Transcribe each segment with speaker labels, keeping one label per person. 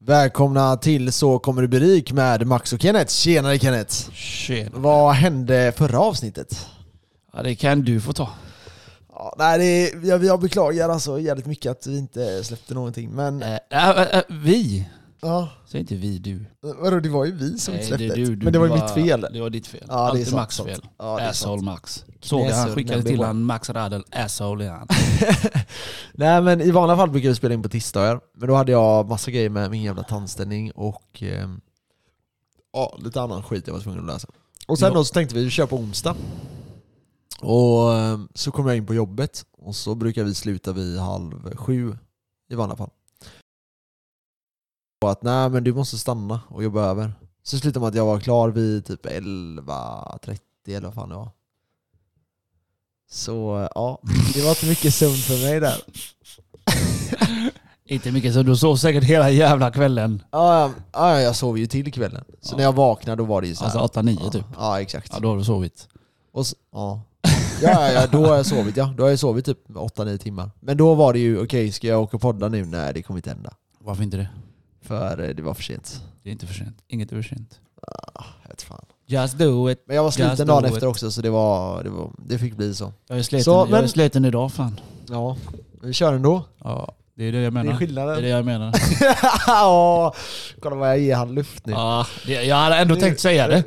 Speaker 1: Välkomna till Så kommer du bli rik med Max och Kenneth. Tjenare Kenneth!
Speaker 2: Tjena.
Speaker 1: Vad hände förra avsnittet?
Speaker 2: Ja, det kan du få ta.
Speaker 1: Ja, nej, det är, jag, jag beklagar alltså jävligt mycket att vi inte släppte någonting. Men
Speaker 2: Eh, äh, äh, vi.
Speaker 1: ja,
Speaker 2: Säg inte vi, du.
Speaker 1: vadå, det var ju vi som inte
Speaker 2: Nej,
Speaker 1: släppte.
Speaker 2: du, du
Speaker 1: men det var ju
Speaker 2: bara-
Speaker 1: mitt fel.
Speaker 2: Det var ditt fel.
Speaker 1: Ja, det är
Speaker 2: Alltid
Speaker 1: sant,
Speaker 2: Max
Speaker 1: sant.
Speaker 2: fel.
Speaker 1: Ja, det är sant.
Speaker 2: asshole Max. Såg jag, han
Speaker 1: Knäsur,
Speaker 2: skickade
Speaker 1: number
Speaker 2: till
Speaker 1: one.
Speaker 2: han Max Radel, asshole är han.
Speaker 1: Nej men i vanliga fall brukar vi spela in på tisdagar. Men då hade jag massa grejer med min jävla tandställning och ehm, ja, lite annan skit jag var tvungen att lösa. Och sen
Speaker 2: Ja.
Speaker 1: då så tänkte vi, vi kör på onsdag. Och ehm, så kom jag in på jobbet och så brukar vi sluta vid halv sju i vanliga fall. Och att nej men du måste stanna och jobba över. Så slutade man att jag var klar vid typ 11.30 eller vad fan det var. Så ja, det var inte mycket sömn för mig där.
Speaker 2: inte mycket, så du sov säkert hela jävla kvällen.
Speaker 1: Ja, ja, ja, jag sov ju till kvällen. Så
Speaker 2: Ja.
Speaker 1: när jag vaknade då var det ju så här.
Speaker 2: Alltså 8-9
Speaker 1: ja,
Speaker 2: typ.
Speaker 1: Ja, exakt.
Speaker 2: Ja, då har du sovit.
Speaker 1: Och så, ja. Ja, ja, ja, då har jag sovit ja. Då har jag sovit typ 8-9 timmar. Men då var det ju, okej ska jag åka och podda nu? Nej, det kommer inte hända.
Speaker 2: Varför inte det?
Speaker 1: För eh, det var för sent.
Speaker 2: Det är inte för sent. Inget är för sent.
Speaker 1: Ah, jag vet fan.
Speaker 2: Just do it.
Speaker 1: Men jag var
Speaker 2: Just
Speaker 1: sliten
Speaker 2: do
Speaker 1: dagen
Speaker 2: it.
Speaker 1: efter också så det var, det var, det fick bli så.
Speaker 2: Jag är sliten,
Speaker 1: Så,
Speaker 2: jag är
Speaker 1: men-
Speaker 2: sliten idag fan.
Speaker 1: Ja, vi kör ändå.
Speaker 2: Ja, det är det jag menar.
Speaker 1: Det är
Speaker 2: Det är
Speaker 1: skillnaden.
Speaker 2: det jag menar.
Speaker 1: Ja, kolla vad jag ger han luft nu.
Speaker 2: Ja, det, jag hade ändå
Speaker 1: Det-
Speaker 2: tänkt säga det.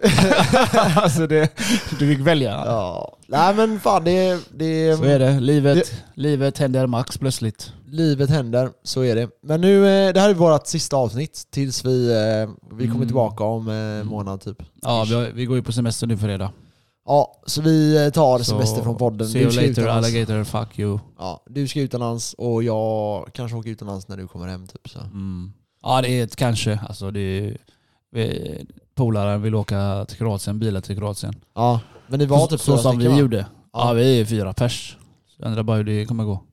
Speaker 2: alltså det. Du fick välja.
Speaker 1: Ja. Nej men fan det, det
Speaker 2: Så är det. Livet, livet händer max plötsligt.
Speaker 1: Livet händer, så är det. Men nu, eh, det här är vårt sista avsnitt tills vi, eh, vi kommer
Speaker 2: Mm.
Speaker 1: tillbaka om eh, en månad typ.
Speaker 2: Ja, vi, har, vi går ju på semester nu på fredag.
Speaker 1: Ja, så vi eh, tar
Speaker 2: Så,
Speaker 1: semester från podden.
Speaker 2: See you
Speaker 1: ska
Speaker 2: later
Speaker 1: utomlands.
Speaker 2: alligator, fuck you.
Speaker 1: Ja, du ska utomlands och jag kanske åker utomlands när du kommer hem typ. Så.
Speaker 2: Mm. Ja, det är ett kanske. Alltså det är, vi, polaren vill åka till Kroatien, bila till Kroatien.
Speaker 1: Ja, men det var typ
Speaker 2: så
Speaker 1: fyra
Speaker 2: som vi
Speaker 1: stycken, va?
Speaker 2: gjorde. Ja.
Speaker 1: Ja.
Speaker 2: vi är fyra pers. Så jag undrar bara hur det kommer gå.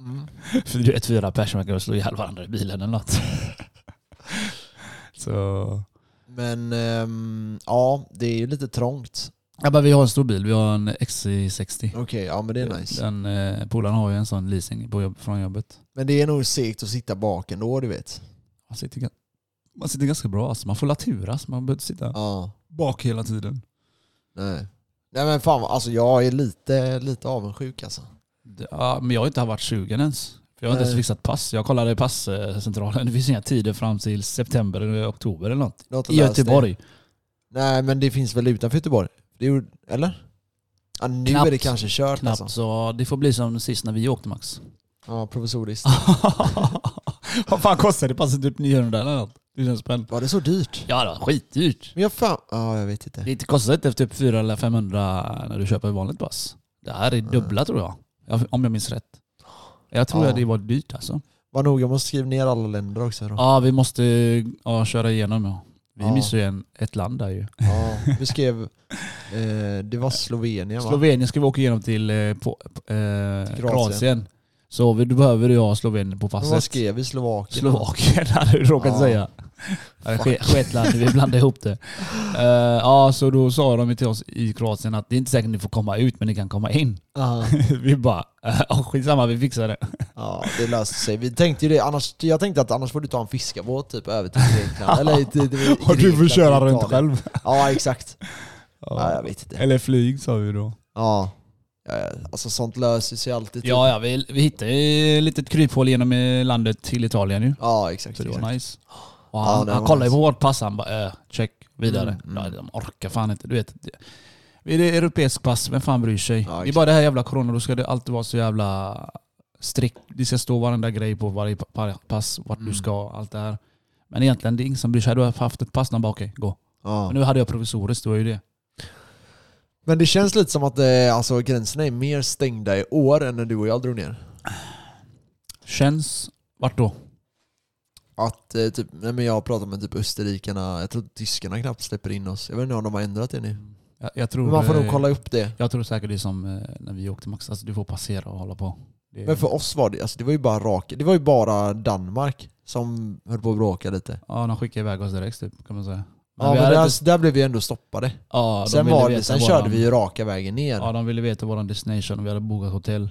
Speaker 1: Mm.
Speaker 2: För du vet, fyra pers, man kan väl slå ihjäl varandra i bilen eller något. så...
Speaker 1: Men ehm, ja, det är ju lite trångt.
Speaker 2: Ja, men vi har en stor bil, vi har en XC60.
Speaker 1: Okej, ja men det är nice.
Speaker 2: Den eh, polaren har ju en sån leasing på jobb, från jobbet.
Speaker 1: Men det är nog segt att sitta bak ändå, du vet.
Speaker 2: Man sitter, gan- man sitter ganska bra alltså. Man får latura så man behöver inte sitta
Speaker 1: Ja,
Speaker 2: bak hela tiden.
Speaker 1: nej. Nej men fan, alltså jag är lite, lite avundsjuk alltså.
Speaker 2: Det- Ja, men jag har inte varit sugen ens. För jag har inte ens
Speaker 1: Nej.
Speaker 2: fixat pass. Jag kollade i passcentralen. Det finns inga tider fram till september eller oktober eller något.
Speaker 1: Du har inte
Speaker 2: I
Speaker 1: löst det.
Speaker 2: Göteborg.
Speaker 1: Nej men det finns väl utanför Göteborg? Det gjorde, eller? Ja, nu
Speaker 2: Knappt.
Speaker 1: är det kanske kört
Speaker 2: Knappt.
Speaker 1: alltså.
Speaker 2: Så det får bli som sist när vi åkte Max.
Speaker 1: Ja, provisoriskt.
Speaker 2: Vad fan kostar det passet? Typ 900 eller något? Det känns spännande.
Speaker 1: Var det så dyrt?
Speaker 2: Ja, det var skitdyrt.
Speaker 1: Men jag fan... Ja, jag vet inte.
Speaker 2: Det kostar inte typ 400 eller 500 när du köper ett vanligt pass. Det här är dubbla tror jag. Ja, Om jag minns rätt. Jag tror
Speaker 1: Ja.
Speaker 2: att det var dyrt alltså.
Speaker 1: Var noga med att skriva ner alla länder också då.
Speaker 2: Ja, vi måste ja, köra igenom. Ja. Vi
Speaker 1: Ja.
Speaker 2: missar ju en, ett land där ju.
Speaker 1: Ja, vi skrev... Eh, det var Slovenien va?
Speaker 2: Slovenien ska vi åka igenom till eh, på, eh, Kroatien. Så vi, då behöver du ha Slovenien på
Speaker 1: Men vad
Speaker 2: passet.
Speaker 1: skrev vi? Slovakien?
Speaker 2: Slovakien hade du råkat
Speaker 1: Ja.
Speaker 2: säga. Sketland, vi blandade ihop det. Eh, ja, så då sa de ju till oss i Kroatien att det är inte säkert att ni får komma ut, men ni kan komma in.
Speaker 1: Ja,
Speaker 2: vi bara, uh, skitsamma vi fixar det.
Speaker 1: ja, det löste sig. Vi tänkte ju det. Annars, jag tänkte att annars får du ta en fiskarbåt typ över till Grekland. Eller i, till- till-
Speaker 2: Och du får
Speaker 1: Grekland,
Speaker 2: köra
Speaker 1: till
Speaker 2: runt
Speaker 1: Italien.
Speaker 2: själv.
Speaker 1: Ja, exakt. Ja, jag
Speaker 2: Ja.
Speaker 1: vet inte.
Speaker 2: Eller flyg sa vi då.
Speaker 1: Ja. Ja, ja, Alltså sånt löser sig alltid. typ.
Speaker 2: Ja, ja vi, vi hittade ju ett litet kryphål genom eh, landet till Italien ju.
Speaker 1: Ja, exakt.
Speaker 2: Så det
Speaker 1: exakt.
Speaker 2: var nice. Och
Speaker 1: Ja,
Speaker 2: han
Speaker 1: det
Speaker 2: han
Speaker 1: var
Speaker 2: kollade ju
Speaker 1: nice.
Speaker 2: på vårt pass, han bara äh, check, vidare.
Speaker 1: Mm, mm.
Speaker 2: Ja, de orkar fan inte. Du vet, det- är det europeisk pass, vem fan bryr sig?
Speaker 1: Ja,
Speaker 2: det är
Speaker 1: exakt.
Speaker 2: bara det här jävla corona, då ska det alltid vara så jävla strikt. Det ska stå varenda grej på varje pa- pa- pass, vart
Speaker 1: Mm.
Speaker 2: du ska, allt det här. Men egentligen det är ingen som bryr sig. Hade du haft ett pass, de bara okej, gå.
Speaker 1: Ja.
Speaker 2: Men nu hade jag provisoriskt, det var ju det.
Speaker 1: Men det känns lite som att eh, alltså, gränserna är mer stängda i år än när du och jag drog ner.
Speaker 2: Känns, vart då?
Speaker 1: Att eh, typ, nej, men jag har pratat med typ österrikarna, jag tror tyskarna knappt släpper in oss. Jag vet inte om de har ändrat det nu.
Speaker 2: Jag, jag tror,
Speaker 1: Men man får nog
Speaker 2: eh,
Speaker 1: kolla upp det.
Speaker 2: Jag tror säkert det är som eh, när vi åkte Max, alltså, du får passera och hålla på. Det,
Speaker 1: Men för oss var det, alltså, det var ju bara rak, det var ju bara Danmark som höll på att bråka lite.
Speaker 2: Ja, de skickade iväg oss direkt typ, kan man säga. Men
Speaker 1: Ja,
Speaker 2: vi
Speaker 1: men
Speaker 2: hade
Speaker 1: där,
Speaker 2: inte-
Speaker 1: där blev vi ändå stoppade.
Speaker 2: ja, de
Speaker 1: sen
Speaker 2: ville
Speaker 1: var det,
Speaker 2: veta
Speaker 1: sen
Speaker 2: våran-
Speaker 1: körde vi ju raka vägen ner.
Speaker 2: Ja,
Speaker 1: Ja.
Speaker 2: de ville veta våran destination och vi hade bokat hotell.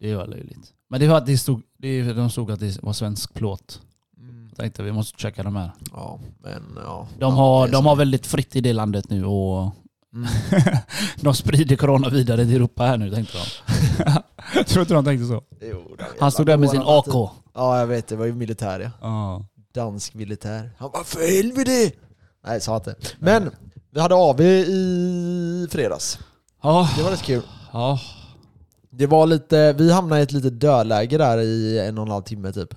Speaker 2: Det var löjligt. Men det var att det stod, det, de stod att det var svensk plåt.
Speaker 1: Mm.
Speaker 2: Jag tänkte vi måste checka de här.
Speaker 1: Ja, men ja.
Speaker 2: De,
Speaker 1: ja,
Speaker 2: har,
Speaker 1: det är så.
Speaker 2: de har väldigt fritt i det landet nu och
Speaker 1: Mm.
Speaker 2: de sprider corona vidare till Europa här nu tänkte de. Jag tror inte de tänkte så.
Speaker 1: Jo, de jävla
Speaker 2: Han stod där med sin
Speaker 1: dårarna alltid.
Speaker 2: AK.
Speaker 1: Ja, jag vet. Det var ju militär typ. ja.
Speaker 2: Ja.
Speaker 1: Dansk militär. Han bara för helvete! Nej, sa inte. Men vi hade AV i fredags.
Speaker 2: Ja.
Speaker 1: Det var rätt kul.
Speaker 2: Ja.
Speaker 1: Det var lite, vi hamnade i ett litet dödläge där i en och en halv timme typ.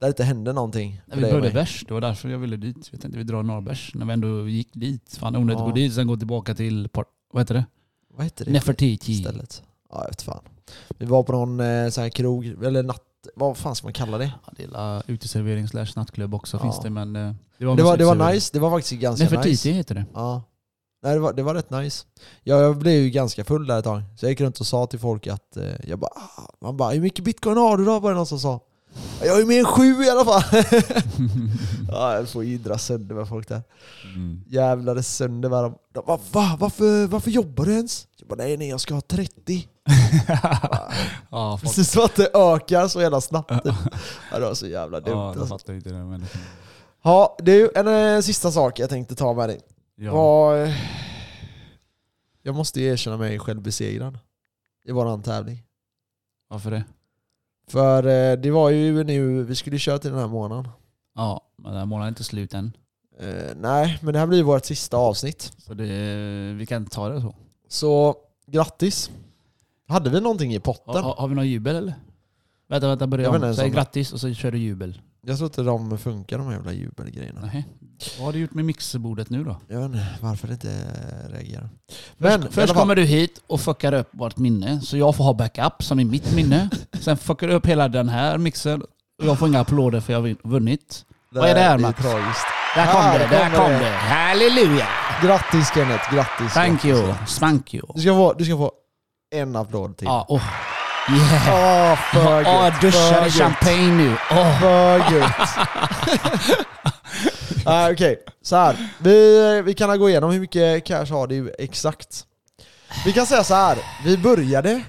Speaker 1: Där det inte hände någonting. för
Speaker 2: Vi
Speaker 1: dig och
Speaker 2: började
Speaker 1: mig.
Speaker 2: bärs, det var därför jag ville dit. Jag tänkte vi drar några bärs när vi ändå gick dit. Fan onödigt att
Speaker 1: Ja.
Speaker 2: gå dit sen gå tillbaka till, par- vad heter det?
Speaker 1: Vad heter det?
Speaker 2: Nefertiti.
Speaker 1: Stället. Ja, jag vet fan. Vi var på någon eh, sån här krog, eller natt... Vad fan ska man kalla det?
Speaker 2: Ja, det är la- uteservering slash nattklubb också
Speaker 1: Ja.
Speaker 2: finns det men... eh,
Speaker 1: Det var, det var nice, det var faktiskt ganska
Speaker 2: Nefertiti
Speaker 1: nice.
Speaker 2: heter det.
Speaker 1: Ja. Nej, det var, det var rätt nice. Jag, jag blev ju ganska full där ett tag. Så jag gick runt och sa till folk att... Eh, jag bara... "Ah." Man bara, hur mycket bitcoin har du då? Var det någon som sa. Jag har ju mer än sju i alla fall. ja, jag får idra sönder med folk där.
Speaker 2: Mm.
Speaker 1: Jävlade sönder med dem. De bara, Va? Varför, varför jobbar du ens? Jag bara, nej nej, jag ska ha 30.
Speaker 2: ja, folk,
Speaker 1: Precis som att det ökar så jävla snabbt. typ. ja, det var så jävla dumt.
Speaker 2: ja, de
Speaker 1: alltså.
Speaker 2: fattar ju inte det. Men,
Speaker 1: Ja, det är ju en eh, sista sak jag tänkte ta med dig.
Speaker 2: ja.
Speaker 1: Ja. eh, Jag måste ju erkänna mig självbesegrad i våran tävling.
Speaker 2: Varför det?
Speaker 1: För eh, det var ju nu, vi skulle ju köra till den här månaden.
Speaker 2: Ja, men den här månaden är inte slut än.
Speaker 1: Eh, nej, men det här blir ju vårt sista avsnitt.
Speaker 2: Så det, vi kan ta det så.
Speaker 1: Så grattis! Hade vi någonting i potten?
Speaker 2: Har, har- har vi någon jubel eller? Vänta, vänta,
Speaker 1: Jag vet
Speaker 2: börja
Speaker 1: inte
Speaker 2: om.
Speaker 1: ens
Speaker 2: Säg
Speaker 1: om-
Speaker 2: grattis och så kör du jubel.
Speaker 1: Jag tror inte de funkar de här jävla jubelgrejerna.
Speaker 2: Nähä. Vad har du gjort med mixerbordet nu då?
Speaker 1: Jag vet inte varför det inte reagerar. Men
Speaker 2: Först,
Speaker 1: i alla
Speaker 2: först
Speaker 1: fall-
Speaker 2: kommer du hit och fuckar upp vårt minne, så jag får ha backup som är mitt minne. Sen fuckar du upp hela den här mixen. och Jag får inga applåder för jag har vunnit. vad är det här, Mats?
Speaker 1: tragiskt.
Speaker 2: Där kom
Speaker 1: Här
Speaker 2: det, där
Speaker 1: kommer
Speaker 2: kom
Speaker 1: det.
Speaker 2: det. Halleluja!
Speaker 1: Grattis Kenneth, grattis.
Speaker 2: Thank
Speaker 1: grattis.
Speaker 2: you, spank you.
Speaker 1: Du ska få, du ska få en applåd till.
Speaker 2: Ja, oh. Yeah.
Speaker 1: Åh, för
Speaker 2: Ja,
Speaker 1: gött,
Speaker 2: duschar
Speaker 1: för
Speaker 2: i
Speaker 1: gött,
Speaker 2: champagne nu. Åh.
Speaker 1: För gött. Nej, Okej, så här. Vi, vi kan gå igenom hur mycket cash har du exakt. Vi kan säga så här. vi började...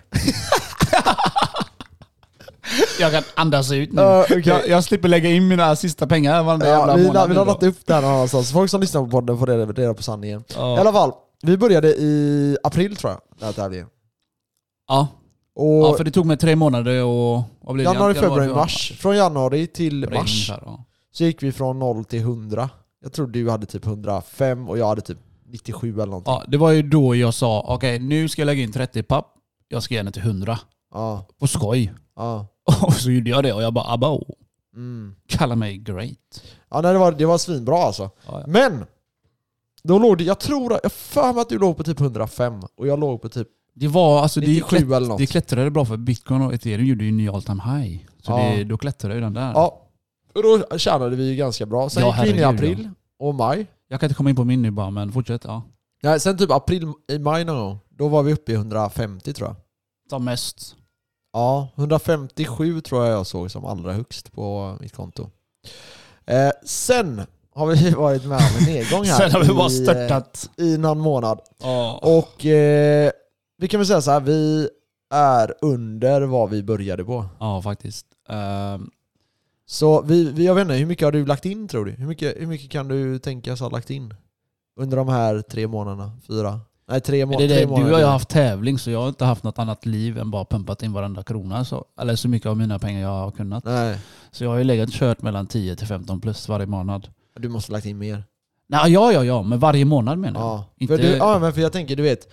Speaker 2: Jag kan andas ut nu.
Speaker 1: Ja, okej.
Speaker 2: jag, jag slipper lägga in mina sista pengar varenda
Speaker 1: Ja,
Speaker 2: jävla
Speaker 1: vi
Speaker 2: månad.
Speaker 1: vi
Speaker 2: nu
Speaker 1: har
Speaker 2: då.
Speaker 1: laddat upp det här någon annanstans. Folk som lyssnar på podden får reda, reda på sanningen. I
Speaker 2: Ja.
Speaker 1: alla fall, vi började i april tror jag, den här tävlingen.
Speaker 2: Ja.
Speaker 1: Och
Speaker 2: ja, för det tog mig tre månader och... Vad blev det?
Speaker 1: januari, februari,
Speaker 2: ja.
Speaker 1: mars. Från januari till
Speaker 2: Februari
Speaker 1: mars.
Speaker 2: ungefär, ja.
Speaker 1: Så gick vi från 0 till 100. Jag tror du hade typ 105 och jag hade typ 97 eller någonting.
Speaker 2: Ja, det var ju då jag sa okej nu ska jag lägga in 30 papp. Jag ska ge henne till 100.
Speaker 1: Ja.
Speaker 2: På skoj.
Speaker 1: Ja.
Speaker 2: Och så gjorde jag det och jag bara abba oh.
Speaker 1: Mm.
Speaker 2: Kalla mig great.
Speaker 1: ja nej, det, var, det var svinbra alltså.
Speaker 2: Ja, ja.
Speaker 1: Men! Då låg det, jag tror, jag har för mig att du låg på typ 105 och jag låg på typ
Speaker 2: Det var alltså... Det,
Speaker 1: 97
Speaker 2: klätt,
Speaker 1: eller något.
Speaker 2: det klättrade bra för bitcoin och ethereum gjorde ju ny all time high. Så
Speaker 1: Ja.
Speaker 2: det, då klättrade ju den där.
Speaker 1: Ja. Och då tjänade vi ju ganska bra. Sen
Speaker 2: Ja,
Speaker 1: gick vi in i
Speaker 2: herregud,
Speaker 1: april och maj.
Speaker 2: Jag kan inte komma in på min nu bara men fortsätt. Ja.
Speaker 1: Nej, sen typ april, i maj någon gång, då var vi uppe i 150 tror jag.
Speaker 2: Som mest.
Speaker 1: Ja, 157 tror jag jag såg som allra högst på mitt konto. Eh, sen har vi varit med om en nedgång här
Speaker 2: Sen har vi bara
Speaker 1: i, eh,
Speaker 2: störtat.
Speaker 1: i någon månad.
Speaker 2: Ja.
Speaker 1: Och eh, vi kan väl säga så här, vi är under vad vi började på.
Speaker 2: Ja, faktiskt. Ehm,
Speaker 1: Så vi, vi, jag vet inte, hur mycket har du lagt in tror du? Hur mycket, hur mycket kan du tänkas ha lagt in? Under de här tre månaderna? Fyra? Nej, tre, må-
Speaker 2: det är det,
Speaker 1: tre
Speaker 2: du
Speaker 1: månader.
Speaker 2: har ju haft tävling så jag har inte haft något annat liv än bara pumpat in varenda krona. Så, eller så mycket av mina pengar jag har kunnat.
Speaker 1: Nej,
Speaker 2: Så jag har ju legat och kört mellan 10 till 15 plus varje månad.
Speaker 1: du måste ha lagt in mer.
Speaker 2: Nej, ja, ja, ja, men varje månad menar jag.
Speaker 1: Ja,
Speaker 2: inte-
Speaker 1: för, du, ja men för jag tänker, du vet.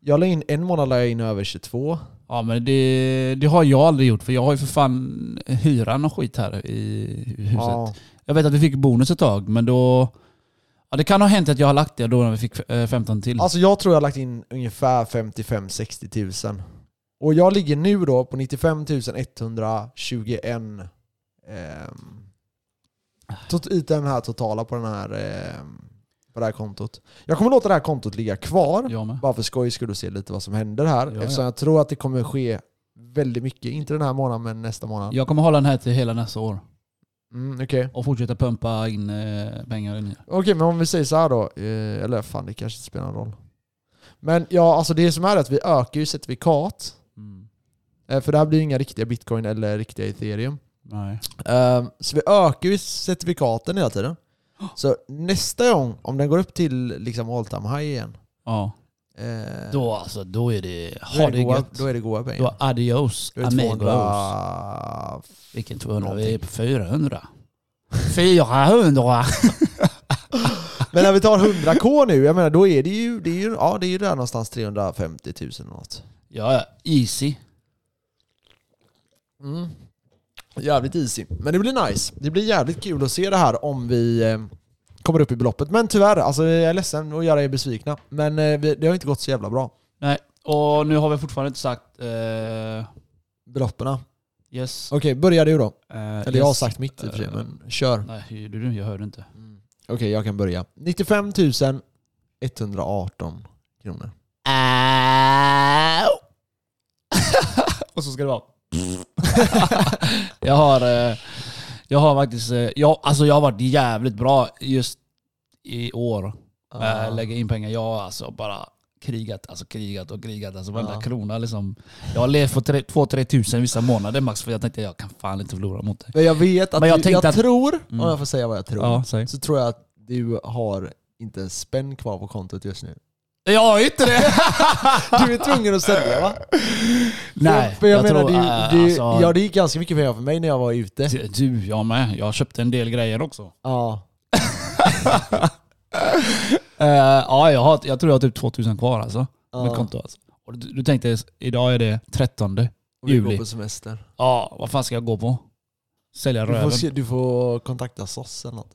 Speaker 1: Jag la in, en månad la jag in över 22.
Speaker 2: Ja, men det, det har jag aldrig gjort för jag har ju för fan hyran och skit här i huset.
Speaker 1: Ja.
Speaker 2: Jag vet att vi fick bonus ett tag, men då... Ja, det kan ha hänt att jag har lagt det då när vi fick eh, 15 till.
Speaker 1: Alltså jag tror jag har lagt in ungefär 55-60 000. Och jag ligger nu då på 95 121 ehm, tot- i den här totala på, den här, ehm, på det här kontot. Jag kommer låta det här kontot ligga kvar.
Speaker 2: jag med.
Speaker 1: Bara för skojs skulle och se lite vad som händer här.
Speaker 2: Ja, ja.
Speaker 1: eftersom jag tror att det kommer ske väldigt mycket. Inte den här månaden men nästa månad.
Speaker 2: Jag kommer hålla den här till hela nästa år
Speaker 1: Mm, Okej,
Speaker 2: och fortsätta pumpa in eh, pengar in i
Speaker 1: Okej, men om vi säger så här då. eh, Eller fan det kanske inte spelar någon roll. Men ja, alltså det som är att vi ökar ju certifikat.
Speaker 2: mm.
Speaker 1: Eh, För det här blir ju inga riktiga bitcoin eller riktiga ethereum.
Speaker 2: Nej.
Speaker 1: Ehm, Så vi ökar ju certifikaten hela tiden. Så nästa gång, om den går upp till liksom all time high igen.
Speaker 2: Ja.
Speaker 1: eh,
Speaker 2: Då alltså, då är det...
Speaker 1: då är
Speaker 2: Ha
Speaker 1: det
Speaker 2: det
Speaker 1: goa-
Speaker 2: gött.
Speaker 1: Då är det goa pengar.
Speaker 2: Då adios,
Speaker 1: Då är det
Speaker 2: amigos.
Speaker 1: 200...
Speaker 2: Vilken 200? Vi är
Speaker 1: någonting.
Speaker 2: på 400. 400!
Speaker 1: Men när vi tar 100k nu, jag menar då är det ju, det är ju, ja, det är ju där någonstans 350 000 eller något.
Speaker 2: Ja, ja. easy.
Speaker 1: Mm. Jävligt easy. Men det blir nice. Det blir jävligt kul att se det här om vi eh, kommer upp i beloppet. Men tyvärr, alltså jag är ledsen att göra er besvikna. Men eh, vi, det har inte gått så jävla bra.
Speaker 2: Nej, och nu har vi fortfarande inte sagt... eh,
Speaker 1: Beloppen. Okej,
Speaker 2: yes.
Speaker 1: börja du då.
Speaker 2: eh,
Speaker 1: Eller
Speaker 2: yes.
Speaker 1: jag har sagt mitt i och för sig, men kör.
Speaker 2: Nej, hur gjorde du? Jag hörde inte.
Speaker 1: Mm. Okej, jag kan börja. 95 118 kronor.
Speaker 2: och så ska det vara. jag har... eh, Jag har faktiskt... eh, Jag, alltså jag har varit jävligt bra just i år.
Speaker 1: Ah.
Speaker 2: Äh, lägga in pengar. Jag har alltså bara krigat, alltså krigat och krigat. Alltså varenda
Speaker 1: Ja.
Speaker 2: krona liksom. Jag har levt på 2-3 tusen vissa månader max för jag tänkte jag kan fan inte förlora mot dig.
Speaker 1: Men jag vet att
Speaker 2: Men jag
Speaker 1: du, jag
Speaker 2: tänkte att-
Speaker 1: tror,
Speaker 2: Mm.
Speaker 1: om jag får säga vad jag tror,
Speaker 2: Ja, säg.
Speaker 1: så tror jag att du har inte en spänn kvar på kontot just nu.
Speaker 2: Jag har ju inte det!
Speaker 1: Du är tvungen att sälja va?
Speaker 2: Nej,
Speaker 1: för jag, menar,
Speaker 2: äh,
Speaker 1: du, du,
Speaker 2: alltså, Typ
Speaker 1: ja, det gick ganska mycket pengar för mig när jag var ute.
Speaker 2: Du, jag med. Jag köpte en del grejer också.
Speaker 1: Ja.
Speaker 2: Eh, ja, jag, har, jag tror jag har typ 2000 kvar alltså.
Speaker 1: Ja.
Speaker 2: Mitt konto alltså. Och du, du tänkte, idag är det
Speaker 1: Och
Speaker 2: 13
Speaker 1: vi går
Speaker 2: juli.
Speaker 1: på semester.
Speaker 2: Ja, vad fan ska jag gå på? Sälja
Speaker 1: Du får,
Speaker 2: röven?
Speaker 1: se, du får kontakta SOS eller något.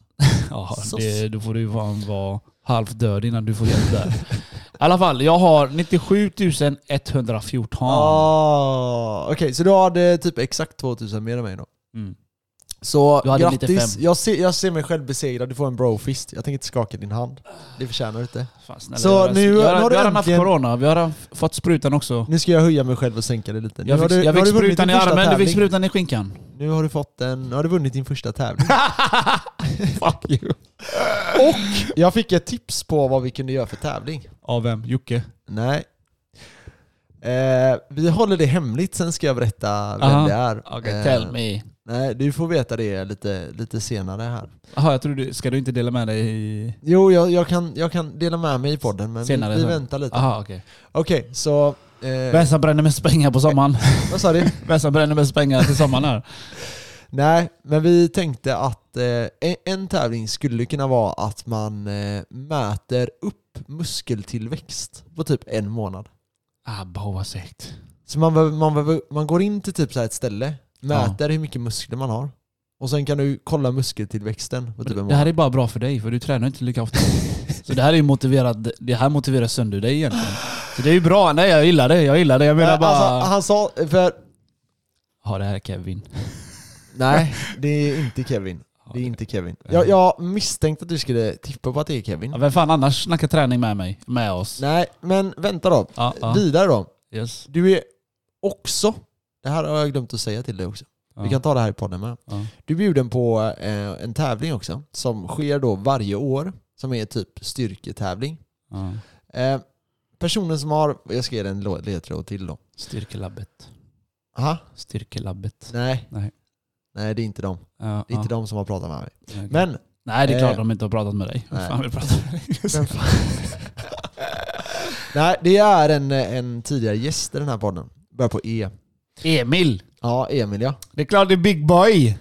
Speaker 2: Ja,
Speaker 1: Sos.
Speaker 2: det, då får du fan vara halvt död innan du får hjälp där. I alla fall, jag har 97 114.
Speaker 1: Ah, Okej, så du hade typ exakt 2000 mer än mig då.
Speaker 2: Mm.
Speaker 1: Så
Speaker 2: Du hade
Speaker 1: grattis,
Speaker 2: 95.
Speaker 1: jag ser, jag ser mig själv besegrad, du får en brofist. Jag tänker inte skaka din hand. Det förtjänar du inte.
Speaker 2: Fan, snälla,
Speaker 1: Så
Speaker 2: jag har-
Speaker 1: nu-
Speaker 2: jag
Speaker 1: nu har du
Speaker 2: har, vi har redan haft
Speaker 1: äntligen-
Speaker 2: corona, vi har redan f- fått sprutan också.
Speaker 1: Nu ska jag höja mig själv och sänka det lite. Nu
Speaker 2: Jag
Speaker 1: har
Speaker 2: fick,
Speaker 1: du-
Speaker 2: jag
Speaker 1: nu har
Speaker 2: fick
Speaker 1: du vunnit
Speaker 2: sprutan i
Speaker 1: din första
Speaker 2: armen, du fick
Speaker 1: tävling.
Speaker 2: sprutan i skinkan.
Speaker 1: Nu har du fått en, nu har du vunnit din första tävling.
Speaker 2: Fuck you.
Speaker 1: jag fick ett tips på vad vi kunde göra för tävling.
Speaker 2: Av vem? Jocke?
Speaker 1: Nej. Eh, vi håller det hemligt, sen ska jag berätta vem
Speaker 2: Aha.
Speaker 1: det är.
Speaker 2: Okej,
Speaker 1: Eh,
Speaker 2: tell me.
Speaker 1: Nej, du får veta det lite, lite senare här.
Speaker 2: Jaha, jag tror du, ska du inte dela med dig i...
Speaker 1: Jo, jag, jag, kan, jag kan dela med mig i podden, men
Speaker 2: Senare,
Speaker 1: vi, vi
Speaker 2: så.
Speaker 1: väntar lite.
Speaker 2: Jaha, okej.
Speaker 1: Okej, så... Eh,
Speaker 2: Vem som bränner mest pengar på sommaren?
Speaker 1: vad sa du?
Speaker 2: Vem som bränner mest pengar till sommaren här?
Speaker 1: Nej, men vi tänkte att eh, en, en tävling skulle kunna vara att man eh, mäter upp muskeltillväxt på typ en månad.
Speaker 2: Ah, boh, vad segt.
Speaker 1: Så man, behöver- man, behöver- man går in till typ så här ett ställe, mäter hur mycket muskler man har. Och sen kan du kolla muskeltillväxten på typ en
Speaker 2: Det
Speaker 1: månad.
Speaker 2: här är bara bra för dig, för du tränar inte lika ofta. Så det här är ju motiverat, det här motiverar sönder dig egentligen. Så det är ju bra, nej jag gillar det, jag gillar det. Jag menar
Speaker 1: Nej,
Speaker 2: bara...
Speaker 1: alltså, han sa, för...
Speaker 2: Ja det här är Kevin.
Speaker 1: Nej, det är inte Kevin. Det är inte Kevin. Jag, jag misstänkte att du skulle tippa på att det är Kevin.
Speaker 2: Ja, vem fan annars snackar träning med mig? Med oss?
Speaker 1: Nej, men vänta då.
Speaker 2: Ja, ja.
Speaker 1: Vidare då.
Speaker 2: Yes.
Speaker 1: Du är också, det här har jag glömt att säga till dig också.
Speaker 2: Ja.
Speaker 1: Vi kan ta det här i podden med.
Speaker 2: Ja.
Speaker 1: Du är bjuden på eh, en tävling också, som sker då varje år, som är typ styrketävling.
Speaker 2: Ja.
Speaker 1: Eh, personen som har, jag ska ge dig en lo- ledtråd till då.
Speaker 2: Styrkelabbet.
Speaker 1: Aha,
Speaker 2: Styrkelabbet.
Speaker 1: nej.
Speaker 2: Nej.
Speaker 1: Nej, det är inte dem.
Speaker 2: Ja,
Speaker 1: Det är
Speaker 2: ja.
Speaker 1: inte de som har pratat med mig.
Speaker 2: Okej.
Speaker 1: Men,
Speaker 2: Nej det är klart
Speaker 1: eh,
Speaker 2: de inte har pratat med dig. Vem
Speaker 1: nej.
Speaker 2: fan vill prata med dig?
Speaker 1: nej, det är en, en tidigare gäst i den här podden. Börjar på E.
Speaker 2: Emil!
Speaker 1: Ja, Emil ja.
Speaker 2: Det är klart det är Big Boy!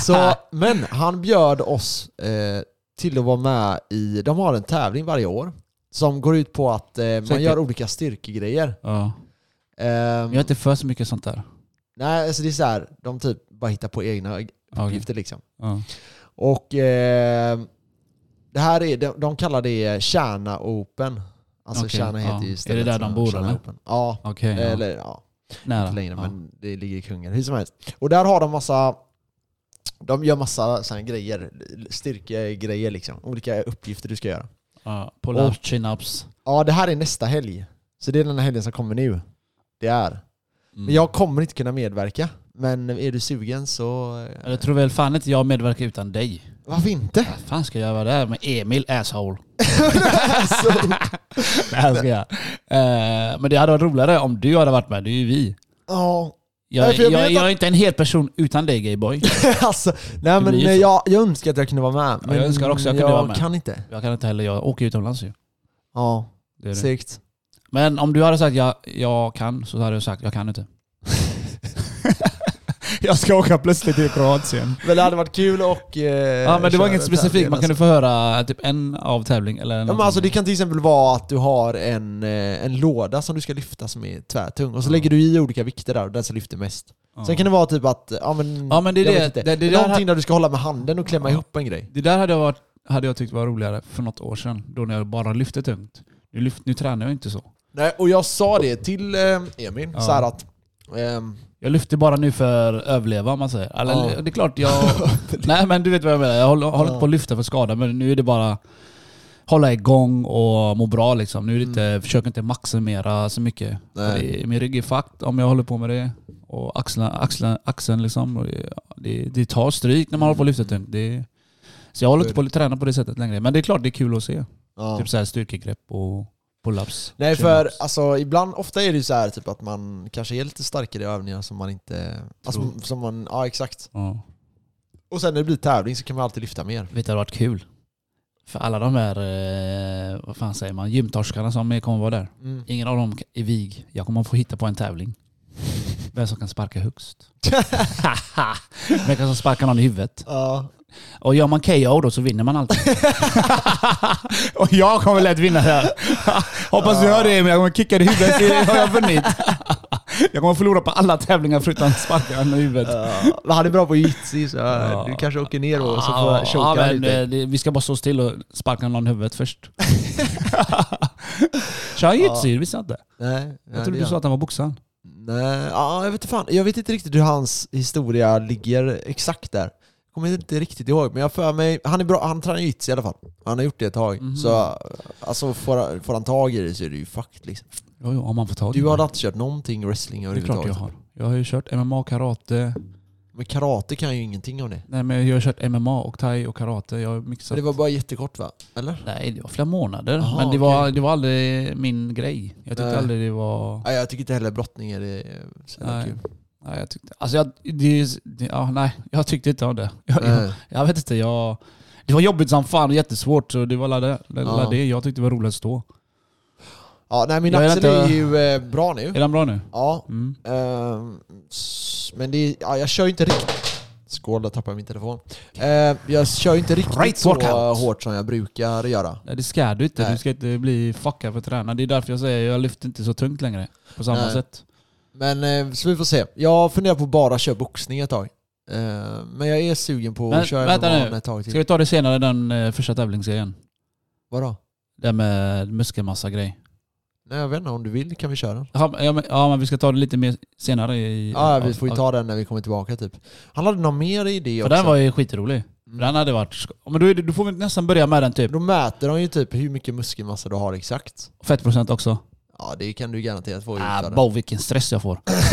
Speaker 1: Så, men han bjöd oss eh, till att vara med i, de har en tävling varje år som går ut på att eh, man
Speaker 2: Säkert.
Speaker 1: gör olika styrkegrejer.
Speaker 2: ja.
Speaker 1: Ehm,
Speaker 2: Jag är inte för så mycket sånt där.
Speaker 1: Nej, alltså det är så här, de typ bara hittar på egna
Speaker 2: Okay.
Speaker 1: uppgifter liksom.
Speaker 2: Ja.
Speaker 1: Och eh, det här är, de, de kallar det Kärna Open. Alltså
Speaker 2: Okej,
Speaker 1: Kärna heter
Speaker 2: ja.
Speaker 1: ju
Speaker 2: Är
Speaker 1: stället
Speaker 2: det där de
Speaker 1: som-
Speaker 2: bor,
Speaker 1: Kärna
Speaker 2: eller?
Speaker 1: Open. Ja,
Speaker 2: Okej, ja.
Speaker 1: eller ja,
Speaker 2: Nära.
Speaker 1: inte längre
Speaker 2: Ja.
Speaker 1: men det ligger i Kungälv. Hur som helst. Och där har de massa de gör massa såna här grejer, styrkegrejer liksom. Olika uppgifter du ska göra.
Speaker 2: Ja. Pull-ups, chin-ups.
Speaker 1: Ja, det här är nästa helg. Så det är den här helgen som kommer nu. Det är. Men
Speaker 2: Mm.
Speaker 1: jag kommer inte kunna medverka. Men är du sugen så... eh,
Speaker 2: Jag tror väl fan inte jag medverkar utan dig.
Speaker 1: Varför inte?
Speaker 2: Vad fan ska jag vara där med Emil asshole? Nej, jag skojar. Eh, Men det hade varit roligare om du hade varit med, det är ju vi.
Speaker 1: Ja,
Speaker 2: Jag,
Speaker 1: Nej, för jag
Speaker 2: jag,
Speaker 1: vet
Speaker 2: jag,
Speaker 1: att-
Speaker 2: är inte en hel person utan dig Gayboy.
Speaker 1: alltså, nej men
Speaker 2: blir ju så.
Speaker 1: jag, jag önskar att jag kunde vara med. Men
Speaker 2: jag önskar också att jag kunde vara med.
Speaker 1: kan inte.
Speaker 2: Jag kan inte heller, jag åker utomlands ju.
Speaker 1: Ja,
Speaker 2: Det är det.
Speaker 1: segt.
Speaker 2: Men om du hade sagt jag, jag kan så hade jag sagt jag kan inte.
Speaker 3: Jag ska åka plötsligt till Kroatien.
Speaker 1: Men det hade varit kul och... Eh,
Speaker 2: Ja, men det var inget specifikt, man kunde
Speaker 1: kan
Speaker 2: få höra typ en av tävling eller
Speaker 1: alltså. Ja,
Speaker 2: någonting.
Speaker 1: men alltså, det kan till exempel vara att du har en, eh, en låda som du ska lyfta som är tvärtung och så lägger du i olika vikter där och den som lyfter mest.
Speaker 2: Ja.
Speaker 1: Sen kan det vara typ att, ja men...
Speaker 2: Ja, men det är
Speaker 1: jag
Speaker 2: det.
Speaker 1: vet inte.
Speaker 2: Det- det
Speaker 1: Det är
Speaker 2: där
Speaker 1: någonting där du ska hålla med handen och klämma
Speaker 2: Ja.
Speaker 1: ihop en grej.
Speaker 2: Det där hade jag, varit, hade jag tyckt var roligare för något år sedan, då när jag bara lyfte tungt. Nu, lyft, nu tränar jag inte så.
Speaker 1: Nej, och jag sa det till eh, Emil,
Speaker 2: Ja.
Speaker 1: så här att... ehm,
Speaker 2: Jag lyfter bara nu för överleva om man säger. Eller,
Speaker 1: Ja.
Speaker 2: Det är klart jag... nej men du vet vad jag menar, jag håller, håller
Speaker 1: Ja.
Speaker 2: inte på att lyfta för skada men nu är det bara hålla igång och må bra liksom. Nu är det inte, försök inte maximera så mycket.
Speaker 1: Mm. Nej.
Speaker 2: För Det, min rygg är fucked om jag håller på med det. Och axeln, axeln, axeln liksom. Och det, det, det tar stryk när man håller på och lyfter tungt. Det, så jag håller inte på att träna på det sättet längre. Men det är klart det är kul att se.
Speaker 1: ja.
Speaker 2: Typ så här styrkegrepp och pull-ups.
Speaker 1: Nej för
Speaker 2: chin-ups.
Speaker 1: alltså ibland, ofta är det ju så här typ att man kanske är lite starkare i övningar som man inte... Alltså,
Speaker 2: Tror.
Speaker 1: som man, ja exakt.
Speaker 2: Ja.
Speaker 1: Och sen när det blir tävling så kan man alltid lyfta mer.
Speaker 2: Vet du vad det har varit kul? För alla de här, eh, vad fan säger man, gymtorskarna som kommer vara där.
Speaker 1: Mm.
Speaker 2: Ingen av dem är vig. Jag kommer få hitta på en tävling. Vem som kan sparka högst. Vem som sparkar någon i huvudet.
Speaker 1: Ja.
Speaker 2: Och gör man KO då så vinner man alltid. och jag kommer lätt vinna här.
Speaker 3: Hoppas du hör det men jag kommer kicka dig i huvudet så har jag vunnit.
Speaker 2: Jag kommer förlora på alla tävlingar förutom sparka någon i huvudet.
Speaker 1: Ja, men han är bra på jitsi så
Speaker 2: Ja.
Speaker 1: du kanske åker ner och så får
Speaker 2: Ja,
Speaker 1: jag choka
Speaker 2: ja, men,
Speaker 1: lite.
Speaker 2: eh, det- vi ska bara stå still och sparka någon i huvudet först. Kör han jitsi? Det visste jag inte.
Speaker 1: Nej, nej,
Speaker 2: Jag trodde
Speaker 1: det
Speaker 2: du sa
Speaker 1: gör-
Speaker 2: att han var boxaren.
Speaker 1: Nej, ja, jag vet inte fan. Jag vet inte riktigt hur hans historia ligger exakt där. Jag kommer inte riktigt ihåg, men jag har för mig... Han är bra, han tränar jitsi i alla fall. Han har gjort det ett tag.
Speaker 2: Mhm.
Speaker 1: Så alltså, får, får han tag i det så är det ju fucked liksom.
Speaker 2: Jo, jo, om man får tag i
Speaker 1: Du har
Speaker 2: det.
Speaker 1: aldrig kört någonting wrestling
Speaker 2: Det är klart jag
Speaker 1: överhuvudtaget?
Speaker 2: har. Jag har ju kört MMA, karate.
Speaker 1: Men karate kan ju ingenting om det.
Speaker 2: Nej men jag har kört MMA och thai och karate. Jag har mixat.
Speaker 1: Så det var bara jättekort va? Eller?
Speaker 2: Nej det var flera månader.
Speaker 1: Jaha,
Speaker 2: men det var,
Speaker 1: okej.
Speaker 2: det var aldrig min grej. Jag tyckte
Speaker 1: Nej.
Speaker 2: aldrig det var...
Speaker 1: Nej, jag tycker inte heller brottning är det så jävla
Speaker 2: Nej.
Speaker 1: kul.
Speaker 2: Nej, jag tyckte, alltså jag, det, det, ja, nej, jag tyckte inte om det. Jag, jag,
Speaker 1: Nej.
Speaker 2: jag vet inte, jag... Det var jobbigt som fan och jättesvårt. Så det var la det, la
Speaker 1: Ja.
Speaker 2: det jag tyckte det var roligt att stå.
Speaker 1: Ja, nej, min
Speaker 2: Jag vet
Speaker 1: axel
Speaker 2: inte-
Speaker 1: är ju eh, bra nu.
Speaker 2: Är den bra nu?
Speaker 1: Ja,
Speaker 2: Mm.
Speaker 1: Ehm, s- men det är, ja, jag kör ju inte riktigt... Skål, där tappade jag min telefon. Ehm, jag kör ju inte riktigt
Speaker 2: Great
Speaker 1: så eh,
Speaker 2: workout.
Speaker 1: hårt som jag brukar göra.
Speaker 2: Nej, det ska du inte.
Speaker 1: Nej.
Speaker 2: Du ska inte bli fuckad för att träna. Det är därför jag säger jag lyfter inte så tungt längre. På samma
Speaker 1: Nej. typ.
Speaker 2: sätt.
Speaker 1: Men eh, så vi får se. Jag funderar på att bara köra boxning ett tag. Ehm, men jag är sugen på
Speaker 2: Men
Speaker 1: att köra
Speaker 2: vänta
Speaker 1: MMA
Speaker 2: nu.
Speaker 1: ett tag till.
Speaker 2: Ska vi ta det senare, den eh, första tävlingsserien?
Speaker 1: Vadå?
Speaker 2: Det här med muskelmassa-grej.
Speaker 1: Nej, jag vet inte. Om du vill kan vi köra den.
Speaker 2: Ja, men- ja, men, ja, men vi ska ta det lite mer senare. I,
Speaker 1: Ja, vi får ju
Speaker 2: ja,
Speaker 1: ta den när vi kommer tillbaka typ. Han hade någon mer idé
Speaker 2: För
Speaker 1: också.
Speaker 2: den var ju skitrolig.
Speaker 1: Mm.
Speaker 2: Den hade varit... sk- Men då, är det, då får vi nästan börja med den typ.
Speaker 1: Då mäter de ju typ hur mycket muskelmassa du har exakt.
Speaker 2: Fettprocent också.
Speaker 1: Ja, det kan du garanterat få ut av
Speaker 2: Ah,
Speaker 1: det.
Speaker 2: bo, vilken stress jag får.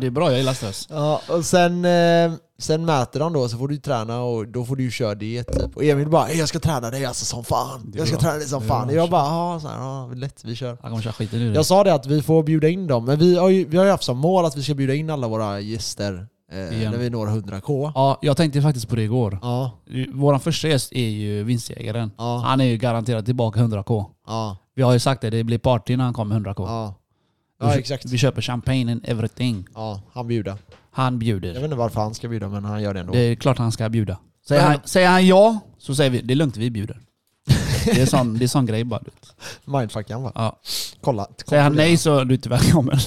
Speaker 2: det är bra, jag gillar stress.
Speaker 1: Ja, och sen, eh, sen mäter de då, så får du ju träna och då får du ju köra diet typ. Och Emil bara "Ey, 'Jag ska träna dig alltså som fan,
Speaker 2: Det är
Speaker 1: jag ska
Speaker 2: bra.
Speaker 1: träna dig som
Speaker 2: Det är
Speaker 1: fan'
Speaker 2: bra.
Speaker 1: Och jag bara 'Ja, så här, ja lätt, vi kör'
Speaker 2: Jag kommer köra skiten nu.
Speaker 1: Jag sa det att vi får bjuda in dem, men vi har ju, vi har ju haft som mål att vi ska bjuda in alla våra gäster eh,
Speaker 2: Igen.
Speaker 1: när vi når 100k.
Speaker 2: Ja, jag tänkte faktiskt på det igår.
Speaker 1: Ja,
Speaker 2: Vår första gäst är ju vinstjägaren.
Speaker 1: Ja.
Speaker 2: Han är ju garanterat tillbaka 100k.
Speaker 1: ja,
Speaker 2: Vi har ju sagt det, det blir party när han kommer 100k.
Speaker 1: ja.
Speaker 2: Vi
Speaker 1: Ja
Speaker 2: kö-
Speaker 1: exakt.
Speaker 2: Vi köper champagne and everything.
Speaker 1: Ja, han bjuder.
Speaker 2: Han
Speaker 1: Jag
Speaker 2: bjuder.
Speaker 1: vet inte varför han ska bjuda men han gör det ändå.
Speaker 2: Det är klart han ska bjuda. Säger
Speaker 1: Men-
Speaker 2: han, säger han ja, så säger vi det är lugnt, vi bjuder. Det är sån, det är sån grej bara. du vet.
Speaker 1: Mindfuckan va?
Speaker 2: Ja.
Speaker 1: Kolla.
Speaker 2: Säger han nej så är du inte välkommen.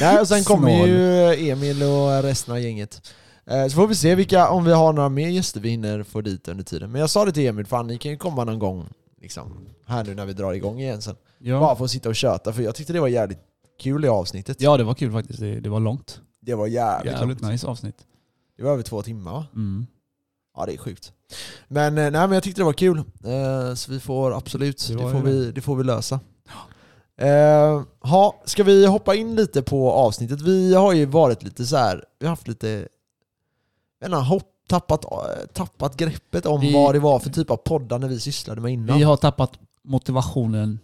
Speaker 1: Nej, och sen kommer
Speaker 2: Snål.
Speaker 1: ju Emil och resten av gänget. Eh, Så får vi se vilka, om vi har några mer gäster vi hinner få dit under tiden. Men jag sa det till Emil, fan ni kan ju komma någon gång liksom, här nu när vi drar igång igen sen. Bara
Speaker 2: Ja.
Speaker 1: för att sitta och köta, för jag tyckte det var jävligt kul i avsnittet.
Speaker 2: ja, det var kul faktiskt. Det, det var långt.
Speaker 1: Det var jävligt
Speaker 2: Jävligt
Speaker 1: långt.
Speaker 2: nice avsnitt.
Speaker 1: Det var över två timmar va?
Speaker 2: Mm.
Speaker 1: Ja det är sjukt. Men, eh, nej, men jag tyckte det var kul. Eh, Så vi får absolut,
Speaker 2: Det
Speaker 1: det,
Speaker 2: var
Speaker 1: får,
Speaker 2: ju
Speaker 1: vi, det får vi lösa. Eh, ha, ska vi hoppa in lite på avsnittet? Vi har ju varit lite så här, vi har haft lite, jag vet inte, hopp, tappat, eh, tappat greppet om
Speaker 2: Vi-
Speaker 1: vad det var för typ av poddar när vi sysslade med innan.
Speaker 2: Vi har tappat motivationen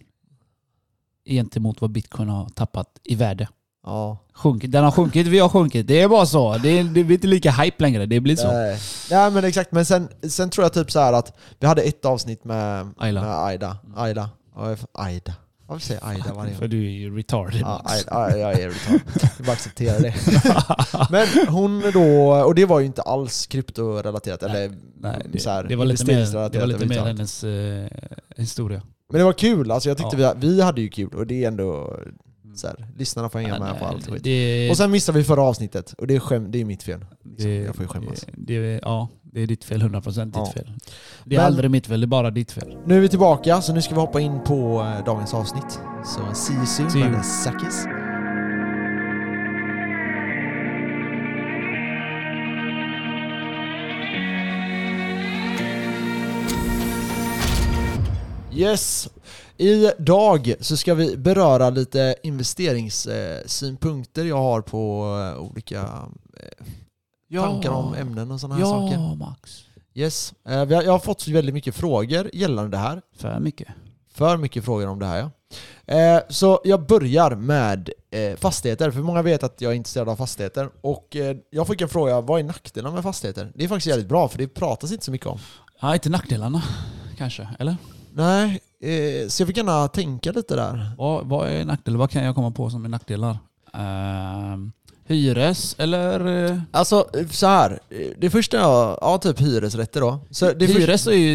Speaker 2: gentemot vad bitcoin har tappat i värde.
Speaker 1: Ja.
Speaker 2: Sjunkit. Den har sjunkit, vi har sjunkit. Det är bara så. Det, är- det blir inte lika hype längre. Det blir så.
Speaker 1: Nej. Eh, Nej men exakt, men sen, sen tror jag typ så här att vi hade ett avsnitt med
Speaker 2: Ayla. Mm.
Speaker 1: med Aida. Aida. Ja, jag- Aida. Varför säger jag Aida varje
Speaker 2: För
Speaker 1: gång?
Speaker 2: du är ju retarded
Speaker 1: Ja,
Speaker 2: Max.
Speaker 1: Aida. Ja, jag är retard. Jag bara accepterar det. Men hon då, och det var ju inte alls kryptorelaterat eller
Speaker 2: Nej, det,
Speaker 1: Mm, så här,
Speaker 2: det var lite mer,
Speaker 1: investeringsrelaterat
Speaker 2: det var lite mer
Speaker 1: överhuvudtaget.
Speaker 2: hennes eh, historia.
Speaker 1: Men det var kul, alltså jag tyckte
Speaker 2: Ja. Mm.
Speaker 1: vi, vi hade ju kul och det är ändå så här, lyssnarna får hänga med på allt skit.
Speaker 2: det,
Speaker 1: Och sen missade vi förra avsnittet och det är, skäm, det är mitt fel.
Speaker 2: det,
Speaker 1: jag får ju skämmas.
Speaker 2: Det, det, ja, det är ditt fel. 100% ditt
Speaker 1: Ja.
Speaker 2: fel. Det är
Speaker 1: Men-
Speaker 2: aldrig mitt fel, det är bara ditt fel.
Speaker 1: Nu är vi tillbaka, så nu ska vi hoppa in på eh, dagens avsnitt. Så see you soon
Speaker 2: See you.
Speaker 1: med Sakis. Yes! Idag så ska vi beröra lite investeringssynpunkter jag har på eh, olika eh, tankar om ämnen och sådana här saker.
Speaker 2: Ja, Max.
Speaker 1: Yes. Eh, vi har- Jag har fått så väldigt mycket frågor gällande det här.
Speaker 2: För mycket.
Speaker 1: För mycket frågor om det här ja. Eh, så jag börjar med eh, fastigheter, för många vet att jag är intresserad av fastigheter. Och eh, jag fick en fråga, vad är nackdelarna med fastigheter? Det är faktiskt jävligt bra, för det pratas inte så mycket om.
Speaker 2: Ja, inte nackdelarna kanske, eller?
Speaker 1: Nej, eh, så jag fick gärna tänka lite där.
Speaker 2: Vad, vad är nackdelar? Vad kan jag komma på som är nackdelar? Ehm, hyres eller? eh,
Speaker 1: Alltså eh, så här, eh, det första jag, ja typ hyresrätter då. Så det först-
Speaker 2: hyres är ju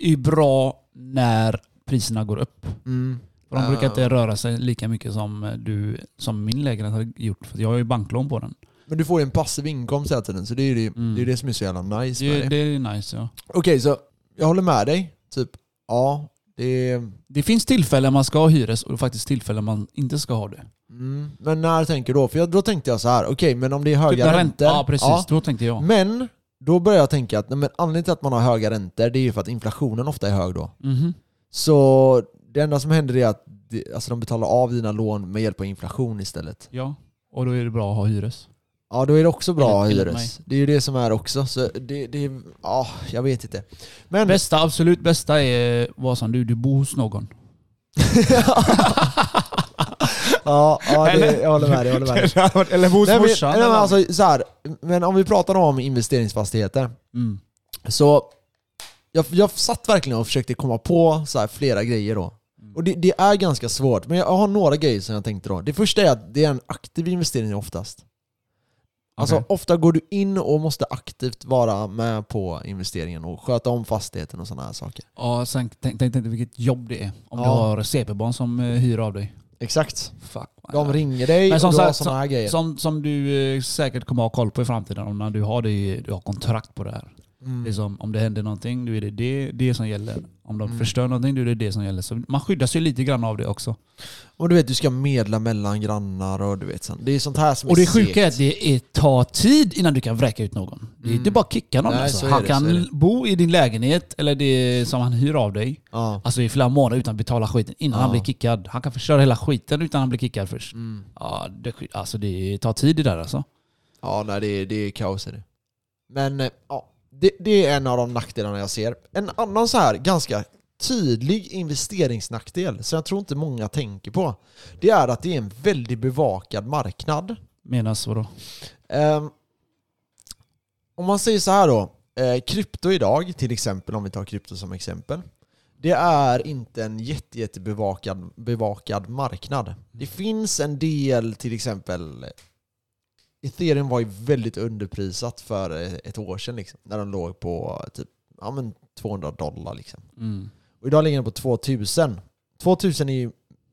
Speaker 2: är ju bra när priserna går upp.
Speaker 1: mm,
Speaker 2: För de brukar
Speaker 1: Ja.
Speaker 2: inte röra sig lika mycket som, du, som min lägenhet har gjort. För jag har ju banklån på den.
Speaker 1: men du får ju en passiv inkomst hela tiden, så det är ju det,
Speaker 2: Mm.
Speaker 1: det, är det som är så jävla nice med
Speaker 2: Det,
Speaker 1: det.
Speaker 2: det är nice ja.
Speaker 1: Okej, så jag håller med dig. Typ, ja, det...
Speaker 2: Det finns tillfällen man ska ha hyres och faktiskt tillfällen man inte ska ha det.
Speaker 1: Mm, men när tänker du då? För jag, då tänkte jag så här, okej, men om det är höga
Speaker 2: Typ när
Speaker 1: räntor...
Speaker 2: Ja precis,
Speaker 1: ja.
Speaker 2: då tänkte jag.
Speaker 1: men då börjar jag tänka att nej, men anledningen till att man har höga räntor det är ju för att inflationen ofta är hög då.
Speaker 2: Mhm.
Speaker 1: Så det enda som händer är att det, alltså de betalar av dina lån med hjälp av inflation istället.
Speaker 2: Ja, och då är det bra att ha hyres.
Speaker 1: Ja, då är det också bra
Speaker 2: Enligt- enligt
Speaker 1: hyres. Det är ju det som är också. Så det, det, ja, jag vet inte. Men...
Speaker 2: Bästa, absolut bästa är vad som du, du bor hos någon.
Speaker 1: ja, ja det, jag håller med dig. Jag håller med dig.
Speaker 3: Eller hos
Speaker 1: Nej, men,
Speaker 2: morsan,
Speaker 1: nej, men,
Speaker 2: eller?
Speaker 1: alltså, så här, men om vi pratar om investeringsfastigheter.
Speaker 2: Mm.
Speaker 1: Så jag, jag satt verkligen och försökte komma på så här, flera grejer då.
Speaker 2: Mm.
Speaker 1: Och det, det är ganska svårt, men jag har några grejer som jag tänkte då. Det första är att det är en aktiv investering oftast. Alltså
Speaker 2: Okej.
Speaker 1: ofta går du in och måste aktivt vara med på investeringen och sköta om fastigheten och sådana här saker.
Speaker 2: Ja, sen tänk, tänk, tänk vilket jobb det är. Om du
Speaker 1: Ja.
Speaker 2: har CP-barn som eh, hyr av dig.
Speaker 1: Exakt.
Speaker 2: Fuck.
Speaker 1: De ringer dig
Speaker 2: Men
Speaker 1: och
Speaker 2: som
Speaker 1: du har
Speaker 2: sagt,
Speaker 1: sådana här grejer.
Speaker 2: som, som du eh, säkert kommer ha koll på i framtiden om när du har, det, i- du har kontrakt på det här.
Speaker 1: Mm.
Speaker 2: Det är som, om det händer någonting, då är det det, det som gäller. Om de
Speaker 1: Mm.
Speaker 2: förstör någonting, då är det det som gäller. Så man skyddas ju lite grann av det också.
Speaker 1: Och du vet, du ska medla mellan grannar och du vet sånt. Det är sånt här som
Speaker 2: Och det
Speaker 1: segt.
Speaker 2: sjuka är att det är, tar tid innan du kan vräka ut någon. Det är
Speaker 1: Mm.
Speaker 2: inte bara att kicka någon.
Speaker 1: Nej, så
Speaker 2: alltså.
Speaker 1: är
Speaker 2: Han
Speaker 1: det, så är
Speaker 2: kan
Speaker 1: det.
Speaker 2: bo i din lägenhet, eller det som han hyr av dig,
Speaker 1: Ja.
Speaker 2: alltså i flera månader utan att betala skiten innan
Speaker 1: Ja.
Speaker 2: han blir kickad. Han kan förstöra hela skiten utan att han blir kickad först.
Speaker 1: Mm.
Speaker 2: Ja, det, alltså det tar tid det där alltså.
Speaker 1: Ja, nej, det, är- det är kaos är det. Men eh, ja, det, det är en av de nackdelarna jag ser. En annan så här ganska tydlig investeringsnackdel som jag tror inte många tänker på. Det är att det är en väldigt bevakad marknad.
Speaker 2: Menas vadå?
Speaker 1: Ehm, om man säger så här då. Eh, krypto idag, till exempel om vi tar krypto som exempel. Det är inte en jätte, jättebevakad bevakad marknad. Det finns en del, till exempel Ethereum var ju väldigt underprisat för eh, ett år sedan liksom, när den låg på typ ja, men 200 dollar. Liksom.
Speaker 2: Mm.
Speaker 1: Och idag ligger den på 2000. 2000 är ju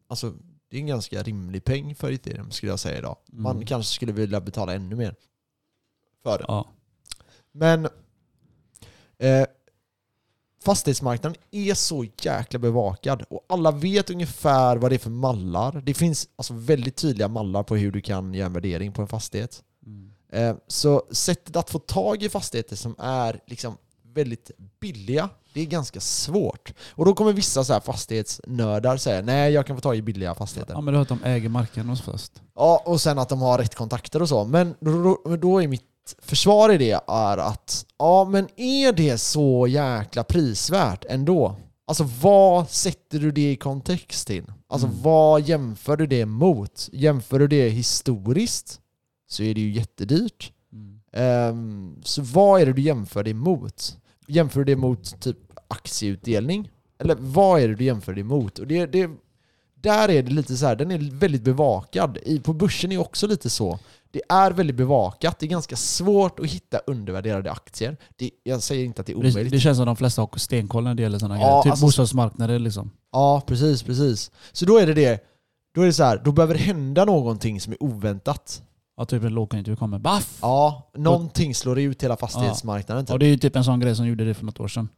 Speaker 1: alltså, det är en ganska rimlig peng för ethereum skulle jag säga idag. Man
Speaker 2: Mm.
Speaker 1: kanske skulle vilja betala ännu mer för det.
Speaker 2: Ja.
Speaker 1: Men eh, fastighetsmarknaden är så jäkla bevakad och alla vet ungefär vad det är för mallar. Det finns alltså väldigt tydliga mallar på hur du kan göra en värdering på en fastighet.
Speaker 2: Mm.
Speaker 1: Eh, Så sättet att få tag i fastigheter som är liksom väldigt billiga, det är ganska svårt. Och då kommer vissa så här fastighetsnördar säga nej jag kan få tag i billiga fastigheter.
Speaker 2: ja men du har hört att de äger marken hos fast.
Speaker 1: Ja, och sen att de har rätt kontakter och så. Men då, då- då är mitt försvar i det är att ja, men är det så jäkla prisvärt ändå? Alltså vad sätter du det i kontext till? Alltså
Speaker 2: Mm.
Speaker 1: vad jämför du det mot? Jämför du det historiskt så är det ju jättedyrt.
Speaker 2: Mm.
Speaker 1: Ehm, så vad är det du jämför det mot? Jämför du det mot typ aktieutdelning? Eller vad är det du jämför det mot? Och det, det, där är det lite så här, den är väldigt bevakad. I, på börsen är också lite så. Det är väldigt bevakat. Det är ganska svårt att hitta undervärderade aktier. Det, jag säger inte att det är omöjligt.
Speaker 2: Det, det känns som de flesta har stenkoll när det gäller sådana
Speaker 1: Ja,
Speaker 2: grejer. Typ
Speaker 1: alltså-
Speaker 2: bostadsmarknader liksom.
Speaker 1: Ja, precis, precis. Så då är det det. Då är det så här, då behöver det hända någonting som är oväntat.
Speaker 2: Ja, typ en lågkonjunktur kommer. Baff!
Speaker 1: Ja, någonting slår ut hela fastighetsmarknaden.
Speaker 2: Och
Speaker 1: Typ.
Speaker 2: det är ju typ en sån grej som gjorde det för något år sedan.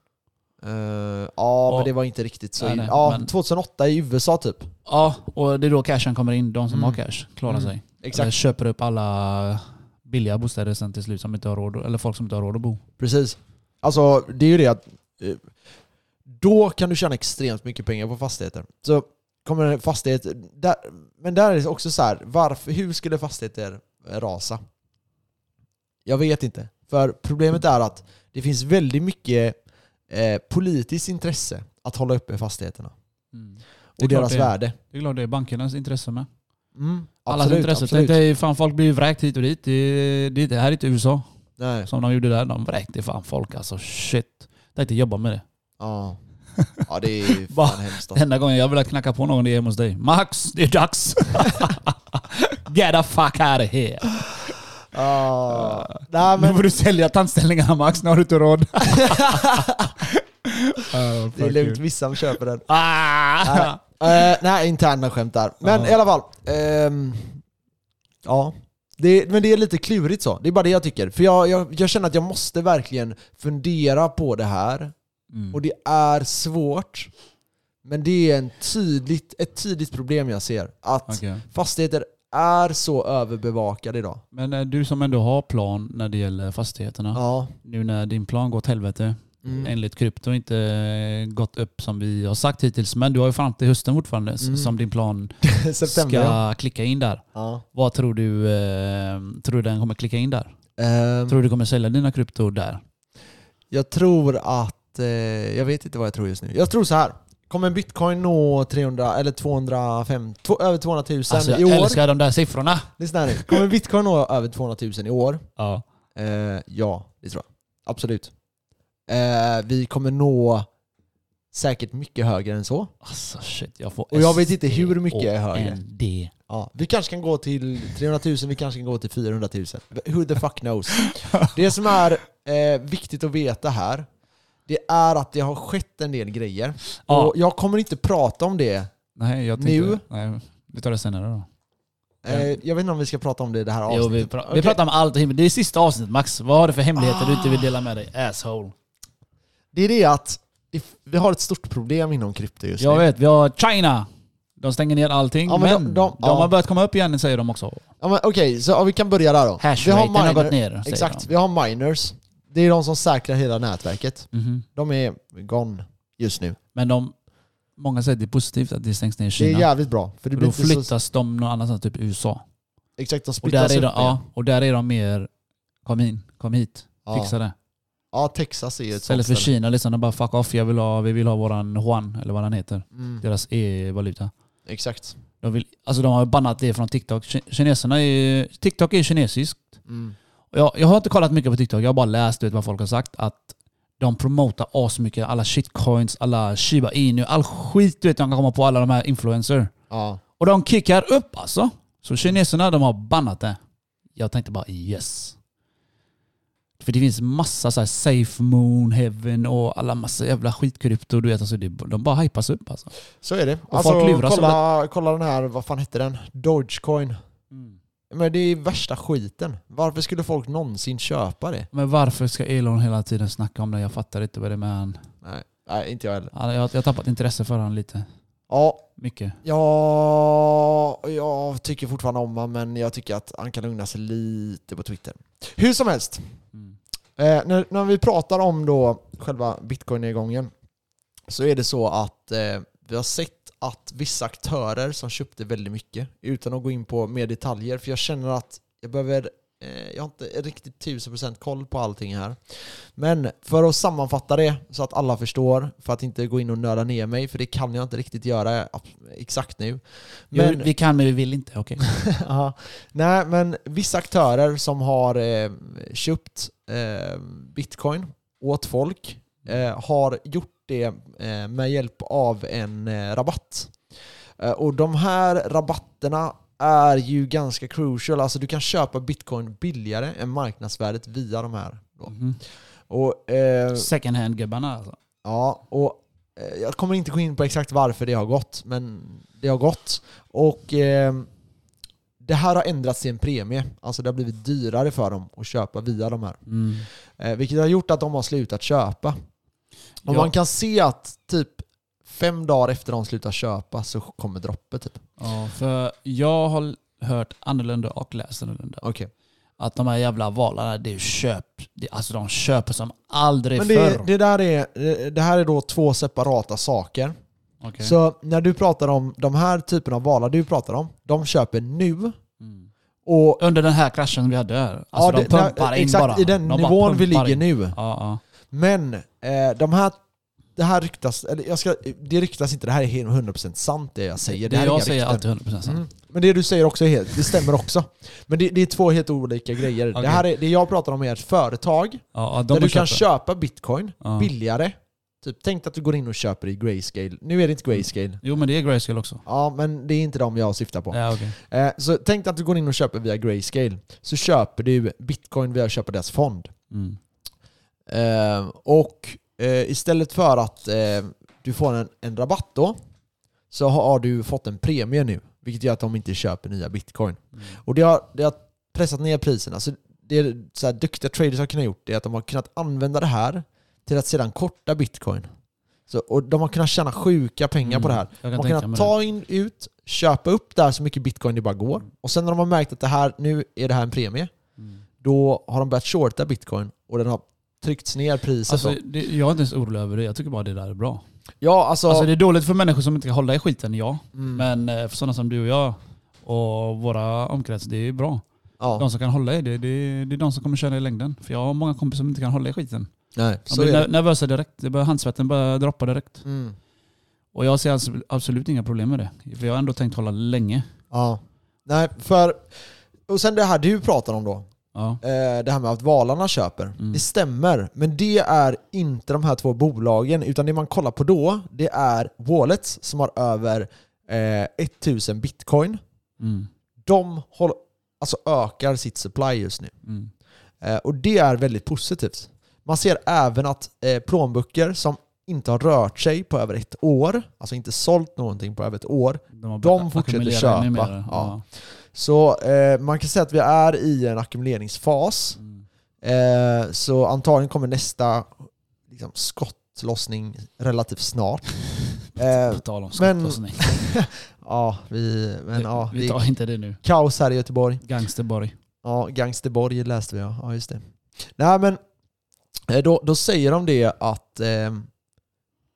Speaker 1: Eh, ja, men
Speaker 2: Och-
Speaker 1: det var inte riktigt så.
Speaker 2: Nej, nej,
Speaker 1: ja,
Speaker 2: men-
Speaker 1: 2008 i USA typ.
Speaker 2: Ja, och det är då cashen kommer in. De som
Speaker 1: Mm.
Speaker 2: har cash klarar
Speaker 1: Mm.
Speaker 2: sig. Eller köper upp alla billiga bostäder sen till slut som inte har råd, eller folk som inte har råd att bo.
Speaker 1: Precis. Alltså, det är ju det att eh, då kan du tjäna extremt mycket pengar på fastigheter. Så kommer en fastighet... Där, men där är det också så här, varför, hur skulle fastigheter eh, rasa? Jag vet inte. För problemet är att det finns väldigt mycket eh, politiskt intresse att hålla uppe fastigheterna
Speaker 2: Det är
Speaker 1: och
Speaker 2: klart
Speaker 1: deras
Speaker 2: det är.
Speaker 1: värde.
Speaker 2: Det är klart det är bankernas intresse med.
Speaker 1: Mm,
Speaker 2: Allas
Speaker 1: absolut,
Speaker 2: intresse.
Speaker 1: absolut.
Speaker 2: Tänk dig, fan folk blir ju vräkt hit och dit. Det, det, det här är inte USA
Speaker 1: Nej.
Speaker 2: som de gjorde där. De vräkte fan folk alltså. Shit. Tänkte jobba med det.
Speaker 1: Ja. ja, det är ju
Speaker 2: Va?
Speaker 1: fan hemskt. alltså.
Speaker 2: Enda gången jag velat knacka på någon det är hemma hos dig. Max, det är dags! Get the fuck out of here!
Speaker 1: Ja. Nej, men
Speaker 2: Nu får du sälja tandställningarna Max, nu har du inte råd.
Speaker 1: det är lugnt. Vissa köper den.
Speaker 2: Ah!
Speaker 1: Nej, uh, nej interna skämt där. Men
Speaker 2: Ja.
Speaker 1: i alla fall. ehm, ja. Det, men det är lite klurigt så. Det är bara det jag tycker. För jag, jag, jag känner att jag måste verkligen fundera på det här.
Speaker 2: Mm.
Speaker 1: Och det är svårt. Men det är en tydligt, ett tydligt problem jag ser. Att
Speaker 2: Okej.
Speaker 1: fastigheter är så överbevakade idag.
Speaker 2: Men eh, du som ändå har plan när det gäller fastigheterna.
Speaker 1: Ja.
Speaker 2: Nu när din plan går åt helvete,
Speaker 1: Mm.
Speaker 2: enligt krypto, inte eh, gått upp som vi har sagt hittills. Men du har ju fram till hösten fortfarande s-
Speaker 1: Mm.
Speaker 2: som din plan
Speaker 1: September. ja.
Speaker 2: ska klicka in där.
Speaker 1: Ja.
Speaker 2: Vad tror du, eh, tror du den kommer klicka in där?
Speaker 1: Ehm,
Speaker 2: Tror du kommer sälja dina krypto där?
Speaker 1: Jag tror att... Eh, jag vet inte vad jag tror just nu. Jag tror så här. Kommer en bitcoin nå 300 eller 205, två- över 200 000
Speaker 2: Alltså,
Speaker 1: i
Speaker 2: jag
Speaker 1: år?
Speaker 2: älskar de där siffrorna!
Speaker 1: Lyssna här nu. Kommer bitcoin nå över 200 000 i år?
Speaker 2: Ja.
Speaker 1: Eh, ja, det tror jag. Absolut. Eh, vi kommer nå säkert mycket högre än så.
Speaker 2: Alltså shit, jag får
Speaker 1: Och jag vet inte hur mycket jag hör.
Speaker 2: STND.
Speaker 1: Ja, vi kanske kan gå till 300 000, vi kanske kan gå till 400 000. Who the fuck knows? Det som är eh, viktigt att veta här, det är att det har skett en del grejer.
Speaker 2: Ja.
Speaker 1: Och jag kommer inte prata om det.
Speaker 2: Nej, jag tänkte...
Speaker 1: Nu?
Speaker 2: Nej, vi tar det senare då.
Speaker 1: Eh, jag vet inte om vi ska prata om det i det här
Speaker 2: Jo,
Speaker 1: avsnittet.
Speaker 2: vi, pra-
Speaker 1: Okej.
Speaker 2: vi pratar om allt och himmel. Det är sista avsnittet Max. Vad har du för hemligheter du inte vill dela med dig? Asshole.
Speaker 1: Det är det att det- vi har ett stort problem inom krypto just
Speaker 2: Jag
Speaker 1: nu.
Speaker 2: vet, vi har China. De stänger ner allting,
Speaker 1: Ja, men
Speaker 2: men,
Speaker 1: de-
Speaker 2: de,
Speaker 1: de- ja.
Speaker 2: har börjat komma upp igen säger de också.
Speaker 1: Ja, men Okej, så ja, vi kan börja där då. Vi
Speaker 2: Hashraten har, gått ner säger
Speaker 1: Exakt,
Speaker 2: de.
Speaker 1: vi har miners. Det är de som säkrar hela nätverket.
Speaker 2: Mhm.
Speaker 1: De är gone just nu.
Speaker 2: Men de, många säger att det är positivt att det stängs ner i
Speaker 1: Det är
Speaker 2: Kina.
Speaker 1: jävligt bra. För det blir
Speaker 2: För då
Speaker 1: inte så
Speaker 2: flyttas de någon annanstans, typ USA.
Speaker 1: Exakt, de
Speaker 2: Och där,
Speaker 1: splittas
Speaker 2: är de,
Speaker 1: upp igen.
Speaker 2: ja, och där är de mer, kom in, kom hit,
Speaker 1: Ja.
Speaker 2: fixa det.
Speaker 1: Ja, Texas är ju ett sånt
Speaker 2: Istället för Kina, liksom, de bara fuck off, jag vill ha, vi vill ha våran Yuan, eller vad den heter.
Speaker 1: Mm,
Speaker 2: Deras e-valuta.
Speaker 1: exakt.
Speaker 2: De, vill, alltså de har bannat det från TikTok. Ki- Kineserna är, TikTok är kinesiskt.
Speaker 1: Mm.
Speaker 2: Och Jag, jag har inte kollat mycket på TikTok, jag har bara läst du vet, vad folk har sagt. Att de promotar asmycket, alla shitcoins, alla shiba inu, all skit du vet de kan komma på, alla de här influencer.
Speaker 1: Ja.
Speaker 2: Och de kickar upp alltså. Så kineserna de har bannat det. Jag tänkte bara yes. För det finns massa så här safe moon, heaven och alla massa jävla skitkrypto. Du vet, alltså det, de bara hypas upp alltså.
Speaker 1: Så är det. Alltså,
Speaker 2: folk luras
Speaker 1: kolla, kolla den här, vad fan hette den? Dogecoin.
Speaker 2: Mm.
Speaker 1: Men det är värsta skiten. Varför skulle folk någonsin köpa det?
Speaker 2: Men varför ska Elon hela tiden snacka om det? Jag fattar inte vad det är med han.
Speaker 1: Nej, Nej inte jag heller.
Speaker 2: Han- Jag jag har tappat intresse för han lite.
Speaker 1: Ja,
Speaker 2: Mycket.
Speaker 1: ja, jag tycker fortfarande om honom, men jag tycker att han kan lugna sig lite på Twitter. Hur som helst.
Speaker 2: Mm.
Speaker 1: Eh, när, när vi pratar om då själva bitcoin-nedgången så är det så att eh, vi har sett att vissa aktörer som köpte väldigt mycket utan att gå in på mer detaljer för jag känner att jag behöver Eh, Jag har inte riktigt 1000% koll på allting här. Men för att sammanfatta det så att alla förstår, för att inte gå in och nörda ner mig, för det kan jag inte riktigt göra ab- exakt nu.
Speaker 2: Men,
Speaker 1: Men,
Speaker 2: vi kan men vi vill inte, okej.
Speaker 1: ja, nej, men vissa aktörer som har eh, köpt eh, bitcoin åt folk eh, har gjort det eh, med hjälp av en eh, rabatt. Eh, och de här rabatterna är ju ganska crucial. Alltså du kan köpa bitcoin billigare än marknadsvärdet via de här. Då.
Speaker 2: Mhm.
Speaker 1: Och, eh,
Speaker 2: Second hand-gubbarna alltså.
Speaker 1: Ja, och eh, jag kommer inte gå in på exakt varför det har gått, men det har gått. Och eh, det här har ändrats till en premie. Alltså det har blivit dyrare för dem att köpa via de här.
Speaker 2: Mm.
Speaker 1: Eh, vilket har gjort att de har slutat köpa. Och
Speaker 2: Ja.
Speaker 1: man kan se att typ fem dagar efter de slutar köpa så kommer droppet. Typ.
Speaker 2: Ja, för jag har hört annorlunda och läst annorlunda.
Speaker 1: Okej.
Speaker 2: Att de här jävla valarna, det är ju köp. Det, alltså de köper som aldrig
Speaker 1: Men
Speaker 2: förr.
Speaker 1: det, det, där är, det- det här är då två separata saker.
Speaker 2: Okej.
Speaker 1: Så när du pratar om de här typen av valar du pratar om, de köper nu
Speaker 2: Mm.
Speaker 1: och
Speaker 2: Under den här kraschen vi hade här. Alltså de
Speaker 1: det- där-
Speaker 2: pumpar in
Speaker 1: exakt,
Speaker 2: bara.
Speaker 1: i den
Speaker 2: de bara
Speaker 1: nivån vi
Speaker 2: pumpar
Speaker 1: ligger
Speaker 2: in.
Speaker 1: nu.
Speaker 2: Ja, ja.
Speaker 1: Men eh, de här, det här ryktas, eller jag ska, det ryktas inte, det här är helt 100% sant det jag säger.
Speaker 2: Det,
Speaker 1: Det, här är
Speaker 2: jag
Speaker 1: inga
Speaker 2: säger
Speaker 1: rykten.
Speaker 2: alltid 100% sant.
Speaker 1: Mm. Men det du säger också är helt, det stämmer också. Men det, det är två helt olika grejer. Det,
Speaker 2: Okej.
Speaker 1: här är, det jag pratar om är ett företag
Speaker 2: Ja, ja, de
Speaker 1: där du kan
Speaker 2: köper.
Speaker 1: köpa bitcoin
Speaker 2: Ja.
Speaker 1: billigare. Typ, tänk att du går in och köper i grayscale. Nu är det inte grayscale.
Speaker 2: Jo men det är grayscale också.
Speaker 1: Ja, men det är inte de jag syftar på.
Speaker 2: Ja, okej.
Speaker 1: Eh, så tänk att du går in och köper via grayscale. Så köper du bitcoin via att köpa deras fond.
Speaker 2: mm.
Speaker 1: Eh, och eh, istället för att eh, du får en, en rabatt då, så har du fått en premie nu. Vilket gör att de inte köper nya bitcoin.
Speaker 2: Mm.
Speaker 1: Och det har, det har pressat ner priserna. Så det så här, duktiga traders har kunnat gjort det är att de har kunnat använda det här till att sedan korta bitcoin. Så, och de har kunnat tjäna sjuka pengar på det här.
Speaker 2: Jag
Speaker 1: De
Speaker 2: kan
Speaker 1: har
Speaker 2: tänka
Speaker 1: kunnat
Speaker 2: mig det.
Speaker 1: ta in, ut, köpa upp där så mycket bitcoin det bara går. Och sen när de har märkt att det här, nu är det här en premie,
Speaker 2: Mm.
Speaker 1: då har de börjat shorta bitcoin och den har tryckts ner priset.
Speaker 2: Alltså,
Speaker 1: då.
Speaker 2: det, jag är inte ens orolig över det. Jag tycker bara det där är bra.
Speaker 1: Ja, alltså...
Speaker 2: Alltså det är dåligt för människor som inte kan hålla i skiten, ja.
Speaker 1: mm,
Speaker 2: Men eh, för sådana som du och jag och våra omkrets, det är bra.
Speaker 1: ja,
Speaker 2: De som kan hålla i det, det, det är de som kommer köra i längden. För jag har många kompisar som inte kan hålla i skiten.
Speaker 1: nej,
Speaker 2: De
Speaker 1: så
Speaker 2: blir
Speaker 1: är
Speaker 2: ner-
Speaker 1: det.
Speaker 2: nervösa direkt. Det börjar, handsvetten börjar droppa direkt.
Speaker 1: Mm,
Speaker 2: Och jag ser alltså absolut inga problem med det. För jag har ändå tänkt hålla länge.
Speaker 1: ja. Nej, för... Och sen det här du pratar om då.
Speaker 2: Ja.
Speaker 1: Eh, det här med att valarna köper.
Speaker 2: Mm.
Speaker 1: Det stämmer, men det är inte de här två bolagen. Utan det man kollar på då, det är wallets som har över eh, 1000 bitcoin.
Speaker 2: Mm.
Speaker 1: De håll, alltså ökar sitt supply just nu.
Speaker 2: Mm.
Speaker 1: Eh, Och det är väldigt positivt. Man ser även att eh, plånböcker som inte har rört sig på över ett år, alltså inte sålt någonting på över ett år.
Speaker 2: har
Speaker 1: De
Speaker 2: börjat
Speaker 1: fortsätter
Speaker 2: ackumulera
Speaker 1: köpa.
Speaker 2: ännu mer.
Speaker 1: Ja.
Speaker 2: Ja.
Speaker 1: Så eh, man kan säga att vi är i en ackumuleringsfas.
Speaker 2: Mm.
Speaker 1: Eh, så antagligen kommer nästa liksom, skottlossning relativt snart. eh,
Speaker 2: På tal om
Speaker 1: men-
Speaker 2: skottlossning.
Speaker 1: ja, vi, men, ja,
Speaker 2: vi
Speaker 1: det Äh.
Speaker 2: tar
Speaker 1: är
Speaker 2: inte det nu.
Speaker 1: kaos här i Göteborg.
Speaker 2: Gangsterborg.
Speaker 1: Ja, Gangsterborg läste vi ja. ja just det. Nej men, eh, då, då säger de det att eh,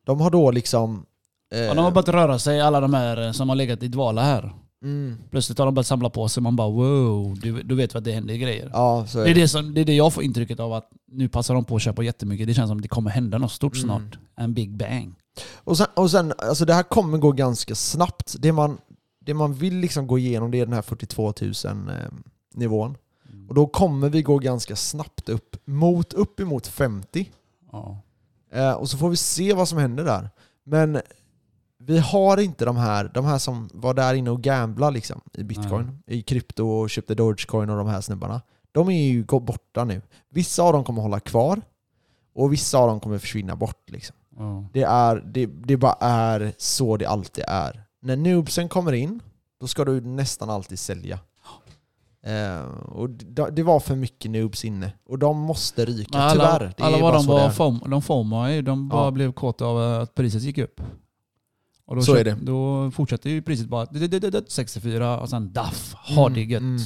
Speaker 1: de har då liksom... Eh,
Speaker 2: Ja, de har börjat röra sig, alla de här eh, som har legat i dvala här.
Speaker 1: mm,
Speaker 2: Plötsligt har de börjat samla på sig. Man bara wow, du, du vet vad det händer grejer.
Speaker 1: ja, så är
Speaker 2: Det är
Speaker 1: det.
Speaker 2: det, som, det är det jag får intrycket av att nu passar de på att köpa jättemycket. Det känns som att det kommer hända något stort
Speaker 1: Mm.
Speaker 2: snart. En big bang.
Speaker 1: Och sen, och sen alltså det här kommer gå ganska snabbt. Det man, det man vill liksom gå igenom det är den här 42 000 eh, nivån.
Speaker 2: Mm.
Speaker 1: Och då kommer vi gå ganska snabbt upp mot, upp emot 50.
Speaker 2: Ja.
Speaker 1: Eh, och så får vi se vad som händer där. Men vi har inte de här, de här som var där inne och gamblade liksom, i bitcoin, i krypto och köpte dogecoin och de här snubbarna. De är ju gå- borta nu. Vissa av dem kommer hålla kvar och vissa av dem kommer försvinna bort. Liksom.
Speaker 2: Ja.
Speaker 1: Det, är, det, det bara är så det alltid är. När noobsen kommer in, då ska du nästan alltid sälja. Eh, och det, det var för mycket noobs inne. Och de måste ryka,
Speaker 2: Men alla,
Speaker 1: tyvärr. Det
Speaker 2: alla
Speaker 1: är
Speaker 2: vad
Speaker 1: bara
Speaker 2: de
Speaker 1: så det
Speaker 2: var
Speaker 1: är.
Speaker 2: form, de formar ju, de bara
Speaker 1: Ja.
Speaker 2: blev kåta av eh, att priset gick upp. Och då,
Speaker 1: Så
Speaker 2: köp-
Speaker 1: är det.
Speaker 2: då fortsatte ju priset bara d- d- d- d- 64 och sen daff, ha
Speaker 1: Mm,
Speaker 2: det gött.
Speaker 1: mm.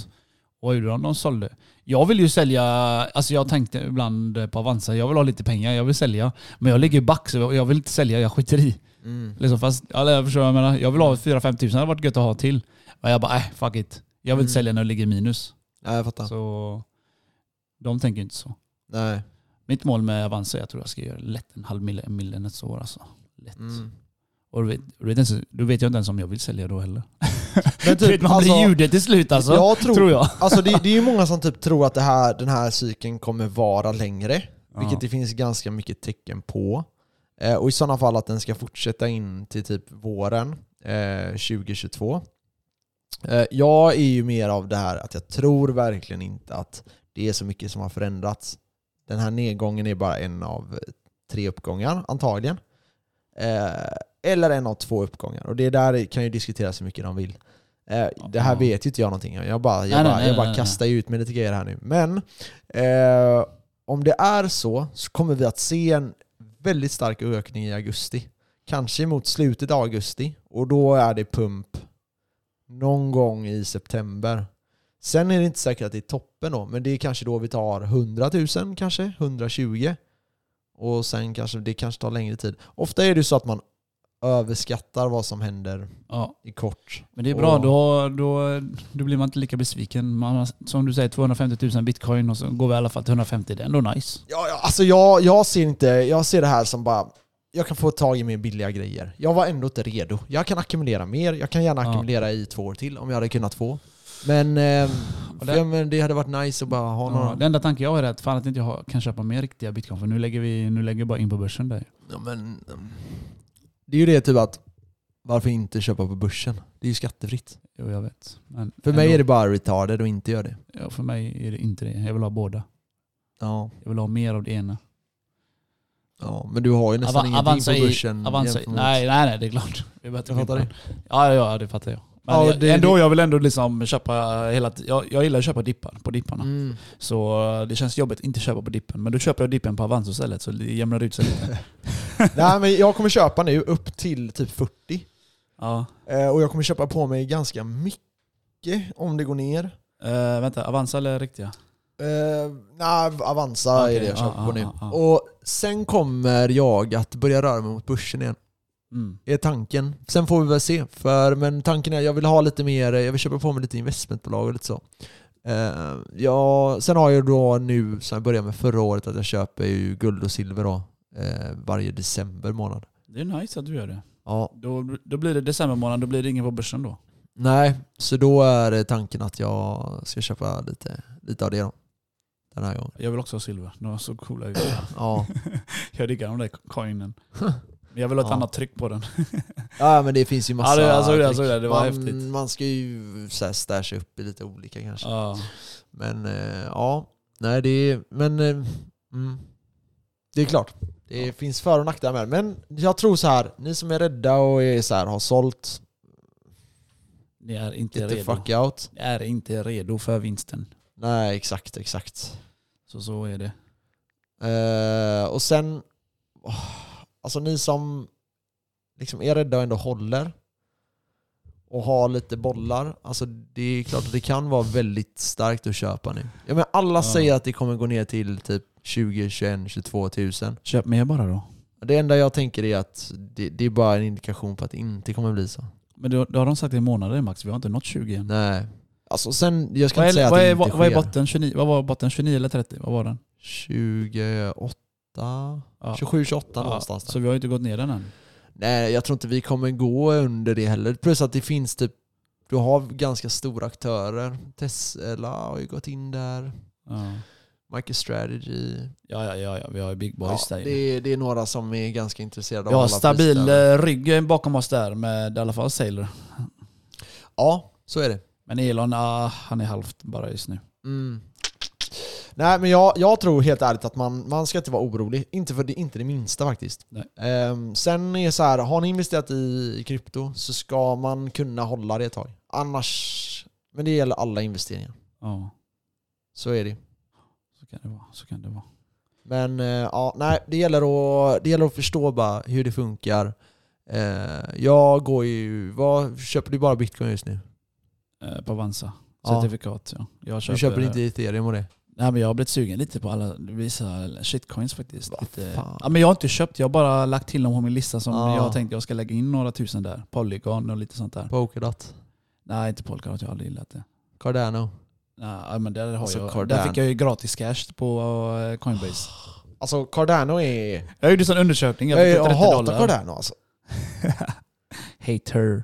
Speaker 2: Och vad gjorde de? De sålde. Jag vill ju sälja, alltså jag tänkte ibland på Avanza, jag vill ha lite pengar, jag vill sälja. Men jag ligger back så jag- jag vill inte sälja, jag skiter i.
Speaker 1: Mm.
Speaker 2: Liksom fast, eller jag förstår vad jag menar. Jag vill ha 4-5 tusen, det hade varit gött att ha till. Men jag bara, äh, fuck it. Jag vill inte
Speaker 1: Mm.
Speaker 2: sälja när det ligger i minus.
Speaker 1: Ja, jag fattar.
Speaker 2: Så De tänker inte så.
Speaker 1: Nej.
Speaker 2: Mitt mål med Avanza är att jag tror jag ska göra lätt en halv mille, millen ett år alltså. Lätt.
Speaker 1: Mm.
Speaker 2: Och du vet, du vet, inte, då vet jag inte ens om jag vill sälja då heller.
Speaker 1: Men
Speaker 2: Du vet, man blir
Speaker 1: alltså,
Speaker 2: jude till slut alltså.
Speaker 1: jag tror,
Speaker 2: Tror jag.
Speaker 1: Alltså det, det är ju många som typ tror att det här, den här cykeln kommer vara längre. Vilket typ- det finns ganska mycket tecken på. Eh, och i sådana fall att den ska fortsätta in till typ våren eh, 2022. Eh, jag är ju mer av det här att jag tror verkligen inte att det är så mycket som har förändrats. Den här nedgången är bara en av tre uppgångar antagligen. Eh, eller en av två uppgångar. Och det där kan ju diskuteras hur mycket de vill. Eh, det här
Speaker 2: Ja.
Speaker 1: vet ju inte jag någonting om. Jag bara, jag bara,
Speaker 2: Nej, nej, nej,
Speaker 1: jag bara
Speaker 2: nej, nej.
Speaker 1: kastar ju ut med lite grejer här nu. Men eh, om det är så så kommer vi att se en väldigt stark ökning i augusti. Kanske mot slutet av augusti. Och då är det pump någon gång i september. Sen är det inte säkert att det är toppen då, men det är kanske då vi tar 100 000 kanske, 120. Och sen kanske det kanske tar längre tid. Ofta är det så att man överskattar vad som händer
Speaker 2: Ja.
Speaker 1: i kort.
Speaker 2: Men det är bra,
Speaker 1: Och-
Speaker 2: då, då, då blir man inte lika besviken. Man, har, som du säger, 250 000 bitcoin och så går vi i alla fall till 150. Det är ändå nice.
Speaker 1: Ja, ja, alltså jag, jag ser inte, jag ser det här som bara, jag kan få tag i mer billiga grejer. Jag var ändå inte redo. Jag kan ackumulera mer, jag kan gärna
Speaker 2: Ja.
Speaker 1: ackumulera i två år till om jag hade kunnat få. Men, eh,
Speaker 2: Och
Speaker 1: för,
Speaker 2: det-
Speaker 1: ja, men det hade varit nice att bara ha
Speaker 2: Ja,
Speaker 1: några.
Speaker 2: det enda tanken jag har är att fan att inte jag har- kan köpa mer riktiga bitcoin. För nu lägger vi nu lägger jag bara in på börsen där.
Speaker 1: Ja, men, mm. det är ju det typ att, varför inte köpa på börsen? Det är ju skattefritt.
Speaker 2: Jo, jag vet. Men
Speaker 1: För mig är det bara retarded och inte göra det.
Speaker 2: Ja, för mig är det inte det. Jag vill ha båda.
Speaker 1: Ja,
Speaker 2: Jag vill ha mer av det ena.
Speaker 1: ja men du har ju nästan
Speaker 2: Ava-
Speaker 1: ingenting på
Speaker 2: i-
Speaker 1: börsen.
Speaker 2: Avanza i,
Speaker 1: jämfört med-
Speaker 2: nej, nej, nej, det är klart. Vi behöver inte
Speaker 1: Jag fattar
Speaker 2: skimpa. Ja, ja, ja, det fattar jag. Men
Speaker 1: Ja,
Speaker 2: jag,
Speaker 1: det-
Speaker 2: ändå, jag vill ändå liksom köpa hela t- jag, jag gillar att köpa dippar på dipparna.
Speaker 1: Mm.
Speaker 2: Så eh, det känns jobbigt att inte köpa på dippen. Men då köper jag dippen på Avanza istället så det jämnar ut sig lite.
Speaker 1: nej men jag kommer köpa nu upp till typ 40.
Speaker 2: ja.
Speaker 1: Eh, och jag kommer köpa på mig ganska mycket om det går ner.
Speaker 2: Eh, vänta, Avanza eller riktiga?
Speaker 1: Eh, nej, Avanza
Speaker 2: Okej,
Speaker 1: är det jag
Speaker 2: ja,
Speaker 1: köper
Speaker 2: ja,
Speaker 1: på nu.
Speaker 2: ja, ja.
Speaker 1: Och sen kommer jag att börja röra mig mot börsen igen.
Speaker 2: Mm.
Speaker 1: är tanken. Sen får vi väl se. För, men tanken är att jag vill ha lite mer, jag vill köpa på mig lite investmentbolag och lite så. Eh, ja, sen har jag då nu, sen jag började med förra året, att jag köper ju guld och silver då, eh, varje december månad.
Speaker 2: Det är nice att du gör det.
Speaker 1: Ja,
Speaker 2: Då, då blir det december månad, då blir det ingen på börsen då.
Speaker 1: nej, så då är tanken att jag ska köpa lite, lite av det då. Den här gången.
Speaker 2: Jag vill också ha silver. De så coola ut.
Speaker 1: Ja.
Speaker 2: Jag diggar de där coinen. Men jag vill ha ett
Speaker 1: Ja.
Speaker 2: annat tryck på den.
Speaker 1: ja, men det finns ju massa...
Speaker 2: Ja, det- jag såg det, jag
Speaker 1: trick.
Speaker 2: såg det. Det var
Speaker 1: man,
Speaker 2: häftigt.
Speaker 1: Man ska ju så här stasha upp i lite olika kanske.
Speaker 2: Ja.
Speaker 1: Men eh, ja, nej det är, men eh, mm, det är klart. Det
Speaker 2: Ja.
Speaker 1: finns för och nackdelar med det. Men jag tror så här, ni som är rädda och är så här, har sålt,
Speaker 2: Ni är inte
Speaker 1: get the
Speaker 2: redo.
Speaker 1: fuck out.
Speaker 2: Ni är inte redo för vinsten.
Speaker 1: Nej, exakt, exakt.
Speaker 2: Så så är det.
Speaker 1: Eh, och sen, åh, alltså ni som liksom är rädda och ändå håller och har lite bollar, alltså det är klart att det kan vara väldigt starkt att köpa nu. Ja, men alla
Speaker 2: Ja.
Speaker 1: säger att det kommer gå ner till typ 20, 21, 22 tusen.
Speaker 2: Köp mer bara då.
Speaker 1: Det enda jag tänker är att det, det är bara en indikation på att det inte kommer bli så.
Speaker 2: Men då, då har de sagt i månader max, vi har inte nått 20 än.
Speaker 1: Nej. Alltså sen, jag ska
Speaker 2: Vad
Speaker 1: inte säga
Speaker 2: är, vad,
Speaker 1: att det
Speaker 2: är,
Speaker 1: inte
Speaker 2: vad, vad är
Speaker 1: sker.
Speaker 2: botten? 29, vad var botten? 29 eller 30? Vad var den?
Speaker 1: 28?
Speaker 2: Ja.
Speaker 1: 27, 28
Speaker 2: Ja,
Speaker 1: någonstans där.
Speaker 2: Så vi har ju inte gått ner den än.
Speaker 1: Nej, jag tror inte vi kommer gå under det heller. Plus att det finns typ, du har ganska stora aktörer. Tesla har ju gått in där.
Speaker 2: Ja,
Speaker 1: MicroStrategy.
Speaker 2: ja, ja, ja, ja. vi har ju Big Boys där
Speaker 1: det,
Speaker 2: ju.
Speaker 1: är, det är några som är ganska intresserade
Speaker 2: Vi har
Speaker 1: att hålla
Speaker 2: stabil
Speaker 1: priserna.
Speaker 2: eh, rygg bakom oss där med i alla fall Sailor.
Speaker 1: Ja, så är det.
Speaker 2: Men Elon, ah, han är halvt bara just nu.
Speaker 1: Mm. Nej men jag, jag tror helt ärligt att man, man ska inte vara orolig. Inte för det, inte det minsta faktiskt.
Speaker 2: Nej.
Speaker 1: Ehm, sen är det så här, har ni investerat i, i krypto så ska man kunna hålla det ett tag. Annars, men det gäller alla investeringar.
Speaker 2: Ja,
Speaker 1: Så är det.
Speaker 2: så kan det vara. Så kan det vara.
Speaker 1: Men eh, ja, nej, det gäller att, det gäller att förstå bara hur det funkar. Eh, jag går ju, vad, köper du bara bitcoin just nu?
Speaker 2: Eh, på Avanza.
Speaker 1: Ja.
Speaker 2: Certifikat ja. typ Jag köper,
Speaker 1: du köper inte ethereum och det?
Speaker 2: Nej men jag har blivit sugen lite på alla vissa shitcoins faktiskt.
Speaker 1: Vad
Speaker 2: Lite,
Speaker 1: fan.
Speaker 2: ja, men jag har inte köpt, jag har bara lagt till dem på min lista som
Speaker 1: Ja.
Speaker 2: jag tänkte jag ska lägga in några tusen där. Polygon och lite sånt där.
Speaker 1: Polkadot?
Speaker 2: Nej inte Polkadot, jag har aldrig gillat det.
Speaker 1: Cardano?
Speaker 2: Ja, men där, har
Speaker 1: Alltså,
Speaker 2: jag,
Speaker 1: Cardano.
Speaker 2: där fick jag ju gratis cash på eh, Coinbase.
Speaker 1: Alltså Cardano är...
Speaker 2: Jag gjorde en sån undersökning, jag
Speaker 1: Jag,
Speaker 2: fick
Speaker 1: jag
Speaker 2: 30
Speaker 1: hatar
Speaker 2: dollar.
Speaker 1: Cardano alltså.
Speaker 2: Hater.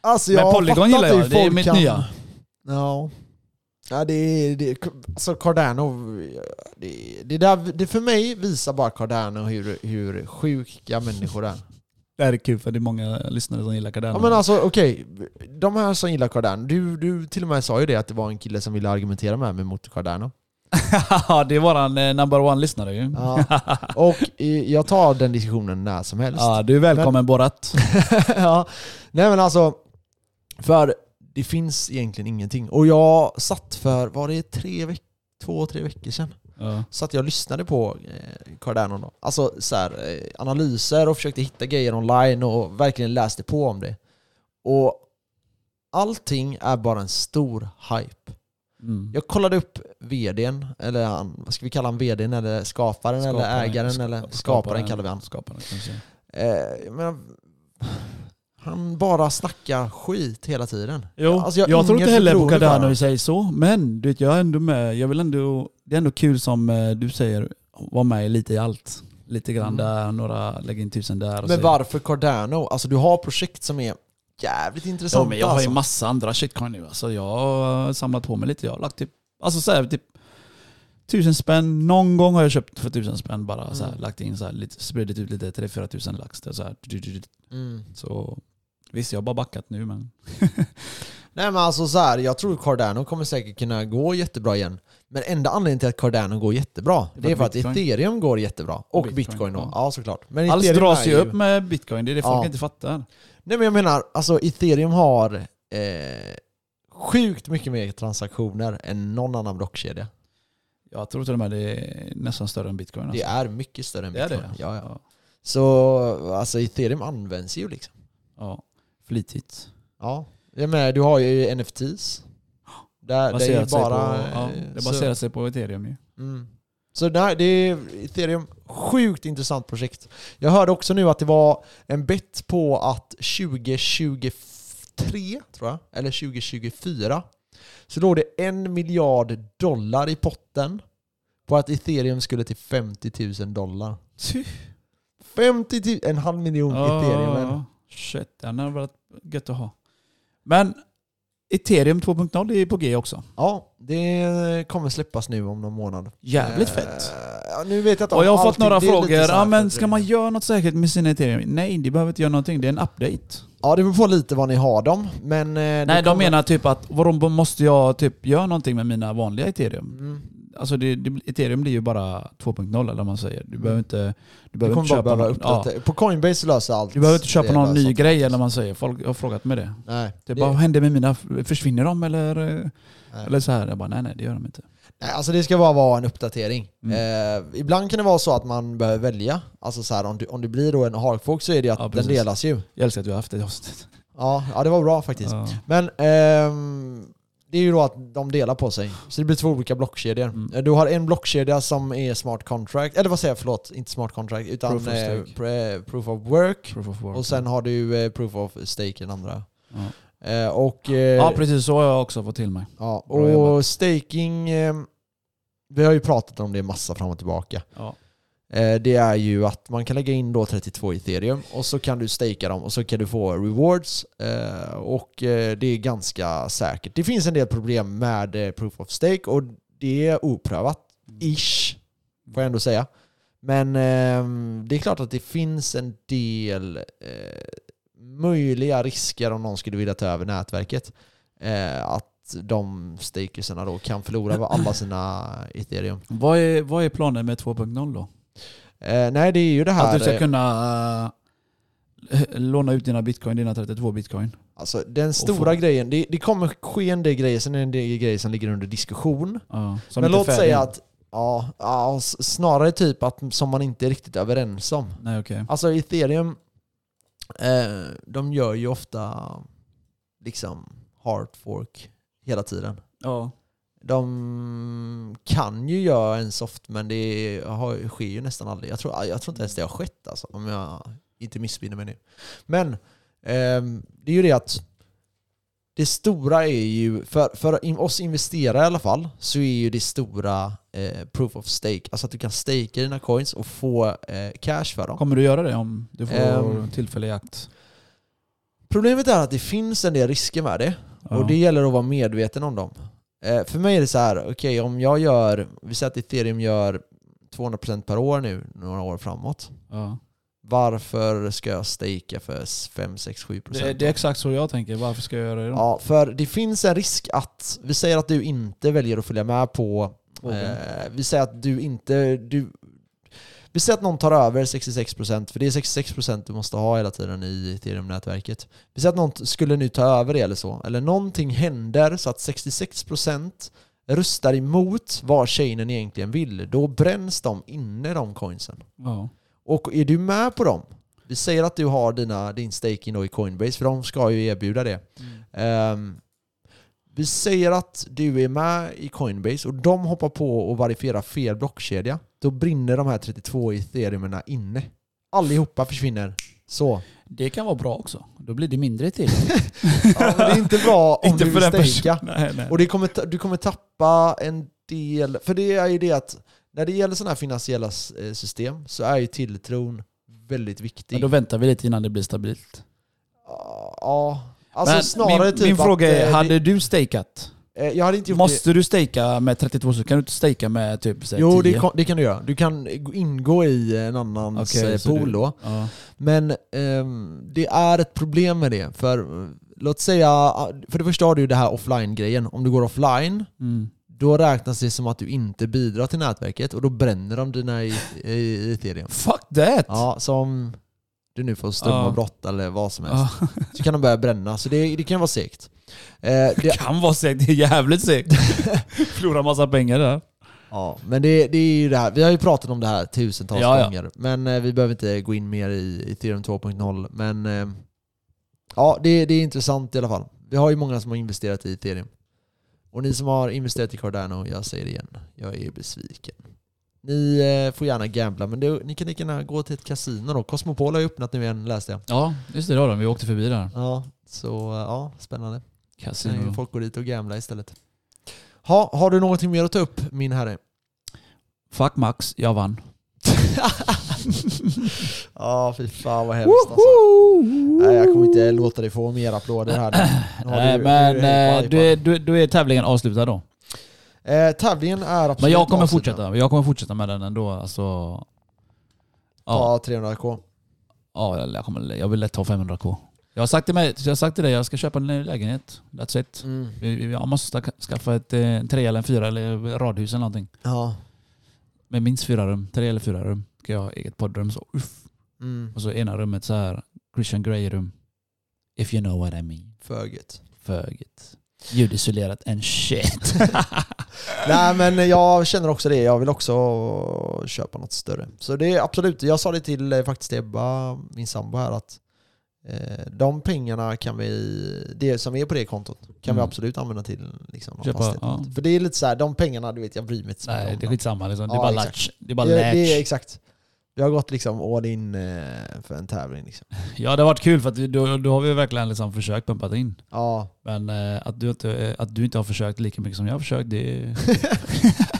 Speaker 1: Alltså
Speaker 2: Men
Speaker 1: jag
Speaker 2: Polygon
Speaker 1: fattar
Speaker 2: gillar jag,
Speaker 1: hur
Speaker 2: det är
Speaker 1: folk
Speaker 2: mitt
Speaker 1: kan-
Speaker 2: nya.
Speaker 1: Ja. Ja, det är... Det, alltså Cardano... Det, det, där, det för mig visar bara Cardano hur, hur sjuka människor är.
Speaker 2: Det här är kul för det är många lyssnare som gillar Cardano.
Speaker 1: Ja men alltså okej, de här som gillar Cardano, du, du till och med sa ju det att det var en kille som ville argumentera med mig mot Cardano.
Speaker 2: det är våran eh, number one-lyssnare ju. Ja.
Speaker 1: Ja. Och eh, jag tar den diskussionen när som helst.
Speaker 2: du är välkommen Borat.
Speaker 1: ja. Nej men alltså, för det finns egentligen ingenting. Och jag satt för, var det tre veck- två, tre veckor sedan?
Speaker 2: Ja.
Speaker 1: Satt jag och lyssnade på eh, Cardano då. Alltså så här, eh, analyser och försökte hitta grejer online och verkligen läste på om det. Och allting är bara en stor hype.
Speaker 2: Mm.
Speaker 1: Jag kollade upp vdn, eller han, vad ska vi kalla han, vdn eller skaparen,
Speaker 2: Skaparen,
Speaker 1: eller ägaren
Speaker 2: ska-
Speaker 1: eller skaparen,
Speaker 2: skaparen.
Speaker 1: kallar vi han.
Speaker 2: Skaparen kanske.
Speaker 1: Eh, jag menar, han bara snackar skit hela tiden.
Speaker 2: Jo,
Speaker 1: Alltså, jag
Speaker 2: jag,
Speaker 1: har
Speaker 2: tror
Speaker 1: inget
Speaker 2: inte heller på
Speaker 1: förtroende för
Speaker 2: Cardano
Speaker 1: honom.
Speaker 2: i sig så, men du vet, jag är ändå med. Jag vill ändå, det är ändå kul som eh, du säger, vara med lite i allt. Lite grann
Speaker 1: Mm.
Speaker 2: där, några lägger in tusen där. Och
Speaker 1: Men
Speaker 2: så-
Speaker 1: varför Cardano? Alltså du har projekt som är jävligt intressanta.
Speaker 2: Ja, men jag har ju
Speaker 1: alltså.
Speaker 2: massa andra shitcoin nu. Alltså, jag har samlat på mig lite. Jag har lagt typ, alltså så här, typ tusen spänn. Någon gång har jag köpt för tusen spänn bara. Så här,
Speaker 1: Mm.
Speaker 2: lagt in så här, lite, spridit ut lite, 3-4 tusen lax. där, Så, här,
Speaker 1: mm.
Speaker 2: så visst, jag har bara backat nu men.
Speaker 1: Nej men alltså så här, jag tror Cardano kommer säkert kunna gå jättebra igen. Men enda anledningen till att Cardano går jättebra, det är för att
Speaker 2: Bitcoin.
Speaker 1: ethereum går jättebra. Och bitcoin,
Speaker 2: Bitcoin,
Speaker 1: då.
Speaker 2: ja.
Speaker 1: Ja. såklart. Men
Speaker 2: Allt
Speaker 1: ethereum
Speaker 2: dras
Speaker 1: är
Speaker 2: ju upp med bitcoin, det är det folk
Speaker 1: Ja.
Speaker 2: inte fattar.
Speaker 1: Nej men jag menar, alltså ethereum har eh, sjukt mycket mer transaktioner än någon annan blockkedja.
Speaker 2: Jag tror till och med det är nästan större än bitcoin.
Speaker 1: Det
Speaker 2: Alltså.
Speaker 1: är mycket större än
Speaker 2: Det är
Speaker 1: bitcoin.
Speaker 2: det?
Speaker 1: Ja, ja.
Speaker 2: Ja.
Speaker 1: Så alltså ethereum används ju liksom.
Speaker 2: ja. Flitigt.
Speaker 1: Ja. Jag menar, du har ju NFTs. Där, det är ju
Speaker 2: Baserat sig
Speaker 1: bara...
Speaker 2: på, ja,
Speaker 1: eh,
Speaker 2: det baserar sig på ethereum ju.
Speaker 1: Så, mm. så nej, det är ethereum. Sjukt intressant projekt. Jag hörde också nu att det var en bet på att 2023, tror jag, eller 2024, så låg det en miljard dollar i potten på att ethereum skulle till 50 000 dollar. 50 000, en halv miljon ethereum. men-
Speaker 2: Ja, Shit, den hade varit gött att ha. Men Ethereum 2.0 är på G också.
Speaker 1: Ja, det kommer släppas nu om någon månad.
Speaker 2: Jävligt
Speaker 1: Eh,
Speaker 2: fett.
Speaker 1: ja, nu vet jag inte om
Speaker 2: Och jag har fått
Speaker 1: allting,
Speaker 2: några
Speaker 1: det är lite
Speaker 2: frågor.
Speaker 1: så
Speaker 2: Ja,
Speaker 1: här
Speaker 2: men ska
Speaker 1: för-
Speaker 2: man göra något säkert med sina Ethereum? Nej, det behöver inte göra någonting. Det är en update.
Speaker 1: Ja, det beror på lite vad ni har dem. Men, eh, det
Speaker 2: Nej, de
Speaker 1: kommer-
Speaker 2: menar typ att vadå, måste jag typ göra någonting med mina vanliga Ethereum?
Speaker 1: Mm.
Speaker 2: Alltså det, det, Ethereum blir ju bara 2.0 eller vad man säger. Du behöver inte, du
Speaker 1: Mm. Du
Speaker 2: behöver
Speaker 1: kommer
Speaker 2: inte
Speaker 1: bara
Speaker 2: köpa,
Speaker 1: behöva
Speaker 2: någon, ja,
Speaker 1: uppdatera. På Coinbase löser allt.
Speaker 2: du behöver inte köpa
Speaker 1: det
Speaker 2: någon ny
Speaker 1: löser.
Speaker 2: grej eller vad man säger. Folk har frågat mig det.
Speaker 1: Nej,
Speaker 2: Det
Speaker 1: det,
Speaker 2: är bara, vad händer med mina? Försvinner de eller, eh,
Speaker 1: Nej.
Speaker 2: eller så här? Jag bara, nej nej det gör de inte.
Speaker 1: nej, alltså det ska bara vara en uppdatering.
Speaker 2: Mm.
Speaker 1: Eh, ibland kan det vara så att man behöver välja. Alltså så här, om, du, om det blir då en harkfolk så är det ju att
Speaker 2: Ja,
Speaker 1: den
Speaker 2: precis.
Speaker 1: delas ju.
Speaker 2: Jag älskar att vi har haft det i avsnittet.
Speaker 1: Ja, ja, det var bra faktiskt.
Speaker 2: Ja.
Speaker 1: Men ehm, det är ju då att de delar på sig. Så det blir två olika blockkedjor. Eh,
Speaker 2: Mm.
Speaker 1: Du har en blockkedja som är smart contract, eller vad säger jag, förlåt, inte smart contract, utan
Speaker 2: Proof
Speaker 1: proof of,
Speaker 2: of
Speaker 1: eh,
Speaker 2: stake.
Speaker 1: pre- proof of work.
Speaker 2: Proof of work.
Speaker 1: Och sen har du eh, proof of stake, den andra.
Speaker 2: ja.
Speaker 1: Eh, och eh,
Speaker 2: ja precis, så har jag också fått till mig.
Speaker 1: ja,
Speaker 2: Bra jobbat.
Speaker 1: och staking, ehm, vi har ju pratat om det massa fram och tillbaka.
Speaker 2: Ja.
Speaker 1: Eh, Det är ju att man kan lägga in då 32 ethereum och så kan du stakea dem och så kan du få rewards. Eh, Och eh, det är ganska säkert. Det finns en del problem med eh, proof of stake och det är oprövat.
Speaker 2: Mm.
Speaker 1: Ish, får jag ändå säga. Men eh, det är klart att det finns en del eh, möjliga risker om någon skulle vilja ta över nätverket. Eh, Att de stakersarna då kan förlora alla sina ethereum.
Speaker 2: Vad, är, vad är planen med 2.0 då?
Speaker 1: Eh, Nej, det är ju det här...
Speaker 2: Att du
Speaker 1: eh,
Speaker 2: ska kunna eh, låna ut dina bitcoin, dina 32 bitcoin.
Speaker 1: Alltså den stora
Speaker 2: få-
Speaker 1: grejen, det, det kommer ske en del grejer, sen är det en del grejer som ligger under diskussion.
Speaker 2: Ja, som
Speaker 1: Men
Speaker 2: inte är
Speaker 1: låt
Speaker 2: färdiga.
Speaker 1: säga att, ja, ja, s- snarare typ att som man inte är riktigt överens om.
Speaker 2: Nej okej.
Speaker 1: Alltså ethereum, eh, de gör ju ofta liksom hard fork hela tiden.
Speaker 2: Ja.
Speaker 1: De kan ju göra en soft men det har, sker ju nästan aldrig. Jag tror, jag tror inte ens det har skett alltså, om jag inte missminner mig nu. Men ehm, det är ju det att det stora är ju, för, för in- oss investerare i alla fall, så är ju det stora eh, proof of stake. Alltså att du kan stakea dina coins och få eh, cash för dem.
Speaker 2: Kommer du göra det om du får
Speaker 1: Ehm,
Speaker 2: tillfällig jakt?
Speaker 1: Problemet är att det finns en del risker med det. Och det gäller att vara medveten om dem. Eh, för mig är det så här, okej om jag gör, vi säger att ethereum gör 200% per år nu, några år framåt.
Speaker 2: Ja.
Speaker 1: Varför ska jag stakea för s- 5, 6, 7%?
Speaker 2: Det, det är exakt så jag tänker. Varför ska jag göra det då?
Speaker 1: Ja, för det finns en risk att, vi säger att du inte väljer att följa med på,
Speaker 2: Vågen.
Speaker 1: eh, vi säger att du inte, du, vi säger att någon tar över 66% för det är 66% du måste ha hela tiden i ethereum-nätverket. Vi säger att någon t- skulle nu ta över det eller så, eller någonting händer så att 66% röstar emot vad chainen egentligen vill. Då bränns de inne de coinsen.
Speaker 2: Ja.
Speaker 1: Och är du med på dem? Vi säger att du har dina, din staking då i Coinbase, för de ska ju erbjuda det. Ehm, vi säger att du är med i Coinbase och de hoppar på och verifierar fel blockkedja. Då brinner de här 32 ethereumerna inne. Allihopa försvinner. Så.
Speaker 2: Det kan vara bra också. Då blir det mindre till.
Speaker 1: Ja, men det är inte bra om
Speaker 2: Inte
Speaker 1: du
Speaker 2: för
Speaker 1: vill
Speaker 2: den personen.
Speaker 1: staka.
Speaker 2: nej, nej.
Speaker 1: Och det kommer, ta- du kommer tappa en del, för det är ju det att när det gäller sådana här finansiella s- eh, system så är ju tilltron väldigt viktig.
Speaker 2: Men då väntar vi lite innan det blir stabilt.
Speaker 1: Ja, alltså
Speaker 2: Men
Speaker 1: snarare
Speaker 2: min,
Speaker 1: typ
Speaker 2: min fråga
Speaker 1: att,
Speaker 2: är,
Speaker 1: eh,
Speaker 2: hade
Speaker 1: det,
Speaker 2: du stakeat?
Speaker 1: eh, Jag hade inte gjort det.
Speaker 2: Måste du staka med 32 så kan du inte staka med typ så här,
Speaker 1: Jo, det
Speaker 2: 10?
Speaker 1: kan, det kan du göra. Du kan ingå i en annans
Speaker 2: Okej,
Speaker 1: eh,
Speaker 2: så
Speaker 1: pool
Speaker 2: du-
Speaker 1: då.
Speaker 2: Ja.
Speaker 1: Men ehm, det är ett problem med det. För eh, låt säga, ah, för det första har du ju det här offline-grejen. Om du går offline,
Speaker 2: Mm.
Speaker 1: då räknas det som att du inte bidrar till nätverket och då bränner de dina i, i, i ethereum.
Speaker 2: Fuck that!
Speaker 1: Ja, som du nu får
Speaker 2: Ja.
Speaker 1: strömavbrott eller vad som helst.
Speaker 2: Ja.
Speaker 1: Så kan de börja bränna. Så det, det kan vara segt. Eh, det
Speaker 2: kan vara segt, det är jävligt segt. Förlorar massa pengar där.
Speaker 1: Ja, men det, det är ju det här. Vi har ju pratat om det här tusentals
Speaker 2: Ja, ja.
Speaker 1: gånger. Men eh, vi behöver inte gå in mer i Ethereum 2.0. Men eh, ja, det, det är intressant i alla fall. Vi har ju många som har investerat i Ethereum. Och ni som har investerat i Cardano, jag säger det igen, jag är besviken. Ni eh, får gärna gambla, men det, ni kan lika gärna gå till ett kasino då. Cosmopol har ju öppnat nu igen, läste jag.
Speaker 2: Ja, just det. Det har de. Vi åkte förbi där.
Speaker 1: Ja, så eh, ja, spännande. Sen kan ju
Speaker 2: Casino.
Speaker 1: folk gå dit och gambla istället. Ha, har du någonting mer att ta upp, min herre?
Speaker 2: Fuck Max, jag vann.
Speaker 1: Ja, fy fan vad hemskt alltså. Nej, jag kommer inte låta dig få mer applåder här. Nu har
Speaker 2: Nej,
Speaker 1: du-
Speaker 2: men
Speaker 1: nu är det på
Speaker 2: eh, då
Speaker 1: iPad.
Speaker 2: är, då, då är tävlingen avslutad då.
Speaker 1: Eh, tävlingen är absolut
Speaker 2: Men jag kommer
Speaker 1: avslutad.
Speaker 2: fortsätta. Jag kommer fortsätta med den ändå. Alltså,
Speaker 1: Ta
Speaker 2: ja,
Speaker 1: 300k.
Speaker 2: ja, jag, kommer, jag vill lätt ha 500k. Jag har sagt till, mig, jag har sagt till dig jag ska köpa en ny lägenhet. That's it.
Speaker 1: Mm.
Speaker 2: Vi- vi- Jag måste sta- skaffa ett eh, en tre eller en fyra eller radhus eller någonting.
Speaker 1: Ja.
Speaker 2: Med minst fyra rum. Tre eller fyra rum. Ska jag ha eget poddrum. Så, uff.
Speaker 1: Mm.
Speaker 2: Och så ena rummet så här. Christian Grey-rum. If you know what I mean.
Speaker 1: Föget.
Speaker 2: Föget. Ljudisolerat and shit.
Speaker 1: Nej men jag känner också det, jag vill också köpa något större. Så det är absolut, jag sa det till eh, faktiskt Ebba, min sambo här, att eh, de pengarna kan vi, det som är på det kontot, kan vi
Speaker 2: Mm.
Speaker 1: absolut använda till liksom, något
Speaker 2: Köpa,
Speaker 1: fastighet.
Speaker 2: ja.
Speaker 1: För det är lite så här, de pengarna, du vet jag bryr mig inte så mycket
Speaker 2: Nej,
Speaker 1: om
Speaker 2: det är
Speaker 1: dem.
Speaker 2: skitsamma. Liksom. Det är
Speaker 1: Ja,
Speaker 2: bara
Speaker 1: exakt.
Speaker 2: latch. Det är bara
Speaker 1: det, det är
Speaker 2: latch.
Speaker 1: exakt. Vi har gått liksom all in eh, för en tävling. Liksom.
Speaker 2: Ja, det har varit kul för att vi- då, då har vi verkligen liksom försökt pumpa in.
Speaker 1: Ja.
Speaker 2: Men eh, att, du inte, eh, att du inte har försökt lika mycket som jag har försökt, det är...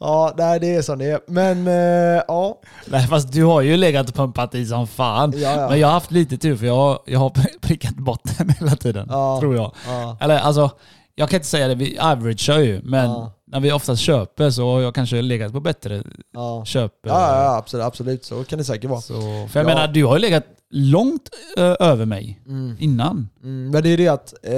Speaker 1: ja, nej, det är som det är. Men eh, ja.
Speaker 2: Nej, fast du har ju legat och pumpat i som fan.
Speaker 1: ja,
Speaker 2: Men
Speaker 1: ja.
Speaker 2: jag har haft lite tur för jag, har- jag har prickat botten hela tiden.
Speaker 1: Ja.
Speaker 2: Tror jag.
Speaker 1: ja.
Speaker 2: Eller alltså, jag kan inte säga det, vi averagear ju. Men
Speaker 1: Ja.
Speaker 2: när vi oftast köper så har jag kanske legat på bättre
Speaker 1: ja.
Speaker 2: köp. eh,
Speaker 1: Ja, ja, absolut, absolut. Så kan det säkert vara.
Speaker 2: Så, för jag
Speaker 1: Ja.
Speaker 2: menar, du har ju legat långt eh, över mig
Speaker 1: Mm.
Speaker 2: innan.
Speaker 1: Mm, men det är det att eh,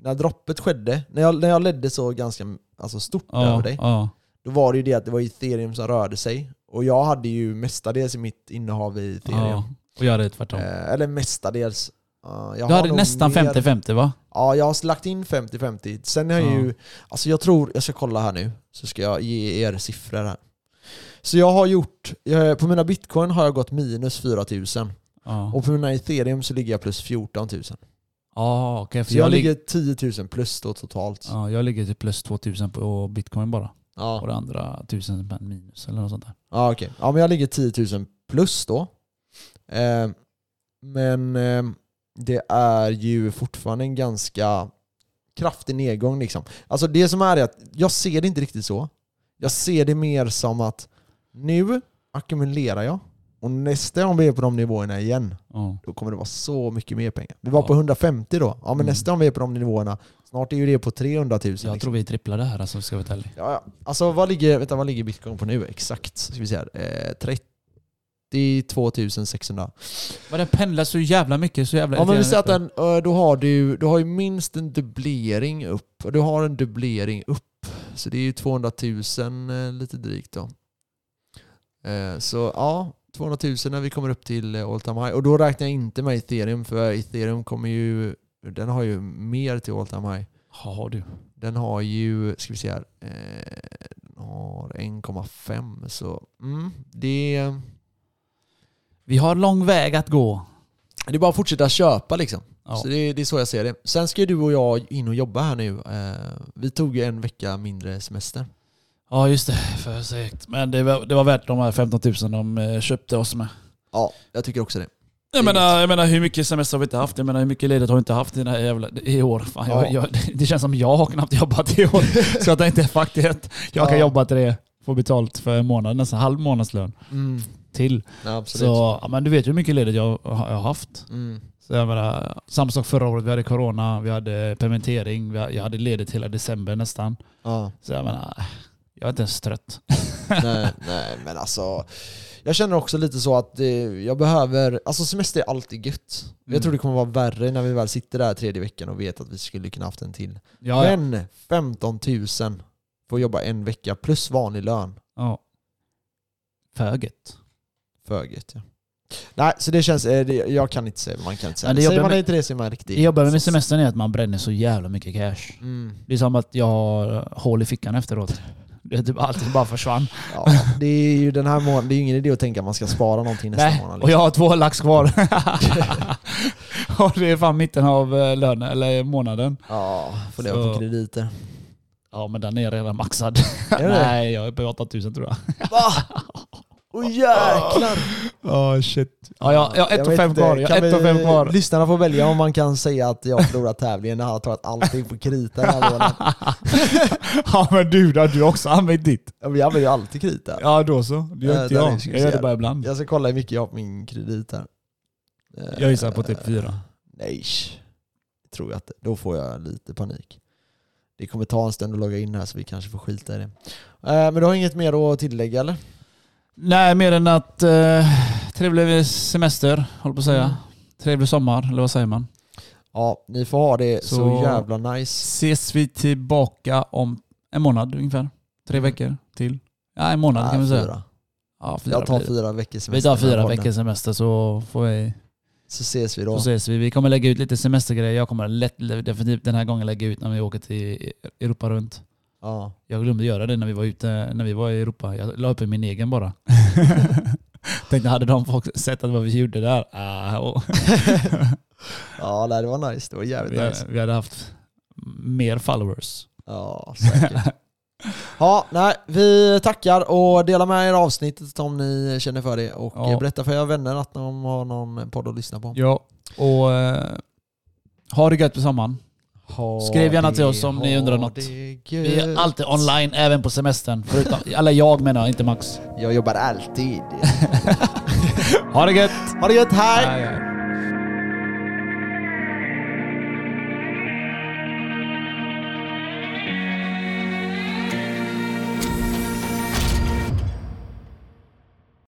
Speaker 1: när droppet skedde, när jag, när jag ledde så ganska alltså, stort över dig,
Speaker 2: ja.
Speaker 1: då var det ju det att det var ethereum som rörde sig. Och jag hade ju mestadels i mitt innehav i ethereum.
Speaker 2: Ja, och jag hade tvärtom.
Speaker 1: Eh, eller mestadels. Uh, jag har
Speaker 2: du hade
Speaker 1: nog
Speaker 2: nästan
Speaker 1: mer-
Speaker 2: 50-50 va?
Speaker 1: Ja, jag har lagt in 50-50. Sen har jag
Speaker 2: Ja.
Speaker 1: ju... Alltså jag tror... Jag ska kolla här nu, så ska jag ge er siffror här. Så jag har gjort... jag- På mina bitcoin har jag gått minus 4000.
Speaker 2: Ja,
Speaker 1: Och på mina ethereum så ligger jag plus 14 000. Så
Speaker 2: ja okej. för
Speaker 1: jag,
Speaker 2: jag, ligger...
Speaker 1: ligger 10 000 plus då totalt. Ja.
Speaker 2: Ja, jag ligger till plus 2000 på bitcoin bara. Och
Speaker 1: Ja,
Speaker 2: det andra 1000 spänn minus eller något sånt där.
Speaker 1: okej. Ja, men jag ligger 10 000 plus då. Eh, men... Eh, det är ju fortfarande en ganska kraftig nedgång. Liksom. Alltså det som är är att jag ser det inte riktigt så. Jag ser det mer som att nu ackumulerar jag och nästa gång vi är på de nivåerna igen,
Speaker 2: Ja.
Speaker 1: då kommer det vara så mycket mer pengar. Vi var på
Speaker 2: Ja.
Speaker 1: 150 då. Ja men
Speaker 2: Mm.
Speaker 1: nästa gång vi är på de nivåerna, snart är ju det på 300 000.
Speaker 2: Jag
Speaker 1: liksom.
Speaker 2: tror vi tripplar det här alltså, ska jag vara ärlig.
Speaker 1: Ja, ja. Alltså vad ligger, vänta, vad ligger bitcoin på nu exakt? Ska vi se här. Eh, 32 600.
Speaker 2: Men den pendlar så jävla mycket, så jävla...
Speaker 1: Ja men vi säger att den, eh, då har du, du har ju minst en dubblering upp. Och Du har en dubblering upp. Så det är ju 200 000 eh, lite drygt då. Eh, Så ja, 200 000 när vi kommer upp till eh, all time high. Och då räknar jag inte med ethereum för ethereum kommer ju, den har ju mer till all time high.
Speaker 2: Ja du.
Speaker 1: Den har ju, ska vi se här, eh, den har 1,5 så mm, det,
Speaker 2: Vi har lång väg att gå.
Speaker 1: det är bara att fortsätta köpa liksom.
Speaker 2: Ja.
Speaker 1: Så det, det är så jag ser det. Sen ska ju du och jag in och jobba här nu. Eh, vi tog ju en vecka mindre semester.
Speaker 2: Ja just det, för segt. Men det var, det var värt de här 15 000 de eh, köpte oss med.
Speaker 1: Ja, jag tycker också det.
Speaker 2: Jag menar, jag menar hur mycket semester har vi inte haft? Jag menar hur mycket ledigt har vi inte haft i, den här jävla, i år? Fan, jag,
Speaker 1: Ja.
Speaker 2: jag, det- det känns som jag har knappt jobbat i år. Så jag tänkte faktiskt, jag kan
Speaker 1: Ja.
Speaker 2: jobba till det. Få betalt för en månad, nästan halv månadslön
Speaker 1: Mm,
Speaker 2: till.
Speaker 1: ja, absolut.
Speaker 2: Så ja, men du vet ju hur mycket ledigt jag, jag har haft.
Speaker 1: Mm,
Speaker 2: Så jag menar, samma sak förra året, vi hade corona, vi hade permittering, vi, jag hade ledigt hela december nästan.
Speaker 1: ja.
Speaker 2: Så jag menar, jag är inte ens trött.
Speaker 1: nej, nej, men alltså. Jag känner också lite så att eh, jag behöver, alltså semester är alltid gött. Jag
Speaker 2: Mm.
Speaker 1: tror det kommer vara värre när vi väl sitter där tredje veckan och vet att vi skulle kunna haft en till.
Speaker 2: Ja, ja.
Speaker 1: Men 15 000 får jobba en vecka plus vanlig lön.
Speaker 2: ja. Föget.
Speaker 1: Föget ja. Nej, så det känns... eh, det- Jag kan inte säga man kan inte säga.
Speaker 2: Men det
Speaker 1: det Säger
Speaker 2: jobbar
Speaker 1: man
Speaker 2: med-
Speaker 1: inte det så är man riktigt...
Speaker 2: Det jag behöver med semestern är att man bränner så jävla mycket cash.
Speaker 1: Mm,
Speaker 2: Det är som att jag har hål i fickan efteråt. Det är typ allting bara försvann.
Speaker 1: ja, det är ju den här månaden, det är ju ingen idé att tänka att man ska spara någonting nästa
Speaker 2: Nej,
Speaker 1: månad. liksom.
Speaker 2: och jag har två lax kvar. och det är fan mitten av eh, lönen, eller månaden.
Speaker 1: liksom. Ja, får leva på
Speaker 2: Så-
Speaker 1: krediter.
Speaker 2: Ja men den är redan maxad.
Speaker 1: Är det?
Speaker 2: Nej, jag är på 8000 tror jag.
Speaker 1: Va? Åh jäklar!
Speaker 2: Oh, shit. Ja, jag, jag har ett och
Speaker 1: vet
Speaker 2: fem
Speaker 1: inte,
Speaker 2: kvar. Jag har
Speaker 1: kan
Speaker 2: ett och
Speaker 1: vi-
Speaker 2: fem kvar.
Speaker 1: Lyssnarna får välja om man kan säga att jag förlorar tävlingen när jag har tagit allting på krita den här månaden.
Speaker 2: Ja men du, då har du också använt ditt.
Speaker 1: Ja, men Jag vill ju alltid krita.
Speaker 2: Ja då så. Det
Speaker 1: Eh,
Speaker 2: gör inte
Speaker 1: där är-
Speaker 2: jag.
Speaker 1: ska vi
Speaker 2: Jag gör
Speaker 1: se.
Speaker 2: det bara ibland.
Speaker 1: Jag ska kolla hur mycket jag har på min kredit här. Eh,
Speaker 2: Jag gissar på typ fyra.
Speaker 1: Nej, det tror jag inte. Då får jag lite panik. Det kommer ta en stund att logga in här så vi kanske får skita i det. Eh, Men du har inget mer att tillägga eller?
Speaker 2: Nej, mer än att eh, trevlig semester, håller på att säga.
Speaker 1: Mm.
Speaker 2: Trevlig sommar, eller vad säger man?
Speaker 1: Ja, ni får ha det så,
Speaker 2: Så-
Speaker 1: jävla nice.
Speaker 2: Ses vi tillbaka om en månad ungefär? Tre veckor till? Ja, en månad kan vi
Speaker 1: Nej, Äh,
Speaker 2: säga.
Speaker 1: fyra.
Speaker 2: Ja, fyra
Speaker 1: Jag tar
Speaker 2: blir det.
Speaker 1: fyra veckors semester.
Speaker 2: Vi tar
Speaker 1: med
Speaker 2: fyra
Speaker 1: podden.
Speaker 2: veckors semester så får vi,
Speaker 1: Så ses vi
Speaker 2: så
Speaker 1: då.
Speaker 2: ses vi. Vi kommer lägga ut lite semestergrejer. Jag kommer lätt, definitivt den här gången lägga ut när vi åker till Europa runt.
Speaker 1: Ja.
Speaker 2: Jag glömde göra det när vi var ute, när vi var i Europa. Jag la upp min egen bara. Tänkte, hade de folk sett att vad vi gjorde där? Ah, åh.
Speaker 1: ja, nej, det var nice. Det var jävligt
Speaker 2: vi,
Speaker 1: nice.
Speaker 2: hade, vi hade haft mer followers.
Speaker 1: Ja, säkert. Ja, nej, vi tackar och delar med er av avsnittet om ni känner för det. Och
Speaker 2: Ja.
Speaker 1: eh, berätta för era vänner att de har någon podd att lyssna på.
Speaker 2: Ja, och eh, ha det gött på sommaren.
Speaker 1: Ha
Speaker 2: Skriv gärna till
Speaker 1: det,
Speaker 2: oss om ni
Speaker 1: ha
Speaker 2: undrar något.
Speaker 1: det
Speaker 2: Vi är
Speaker 1: gött.
Speaker 2: alltid online, även på semestern. Förutom, eller jag menar, inte Max.
Speaker 1: Jag jobbar alltid.
Speaker 2: Ha det gött!
Speaker 1: Ha det gött, hej!
Speaker 2: Hej, hej.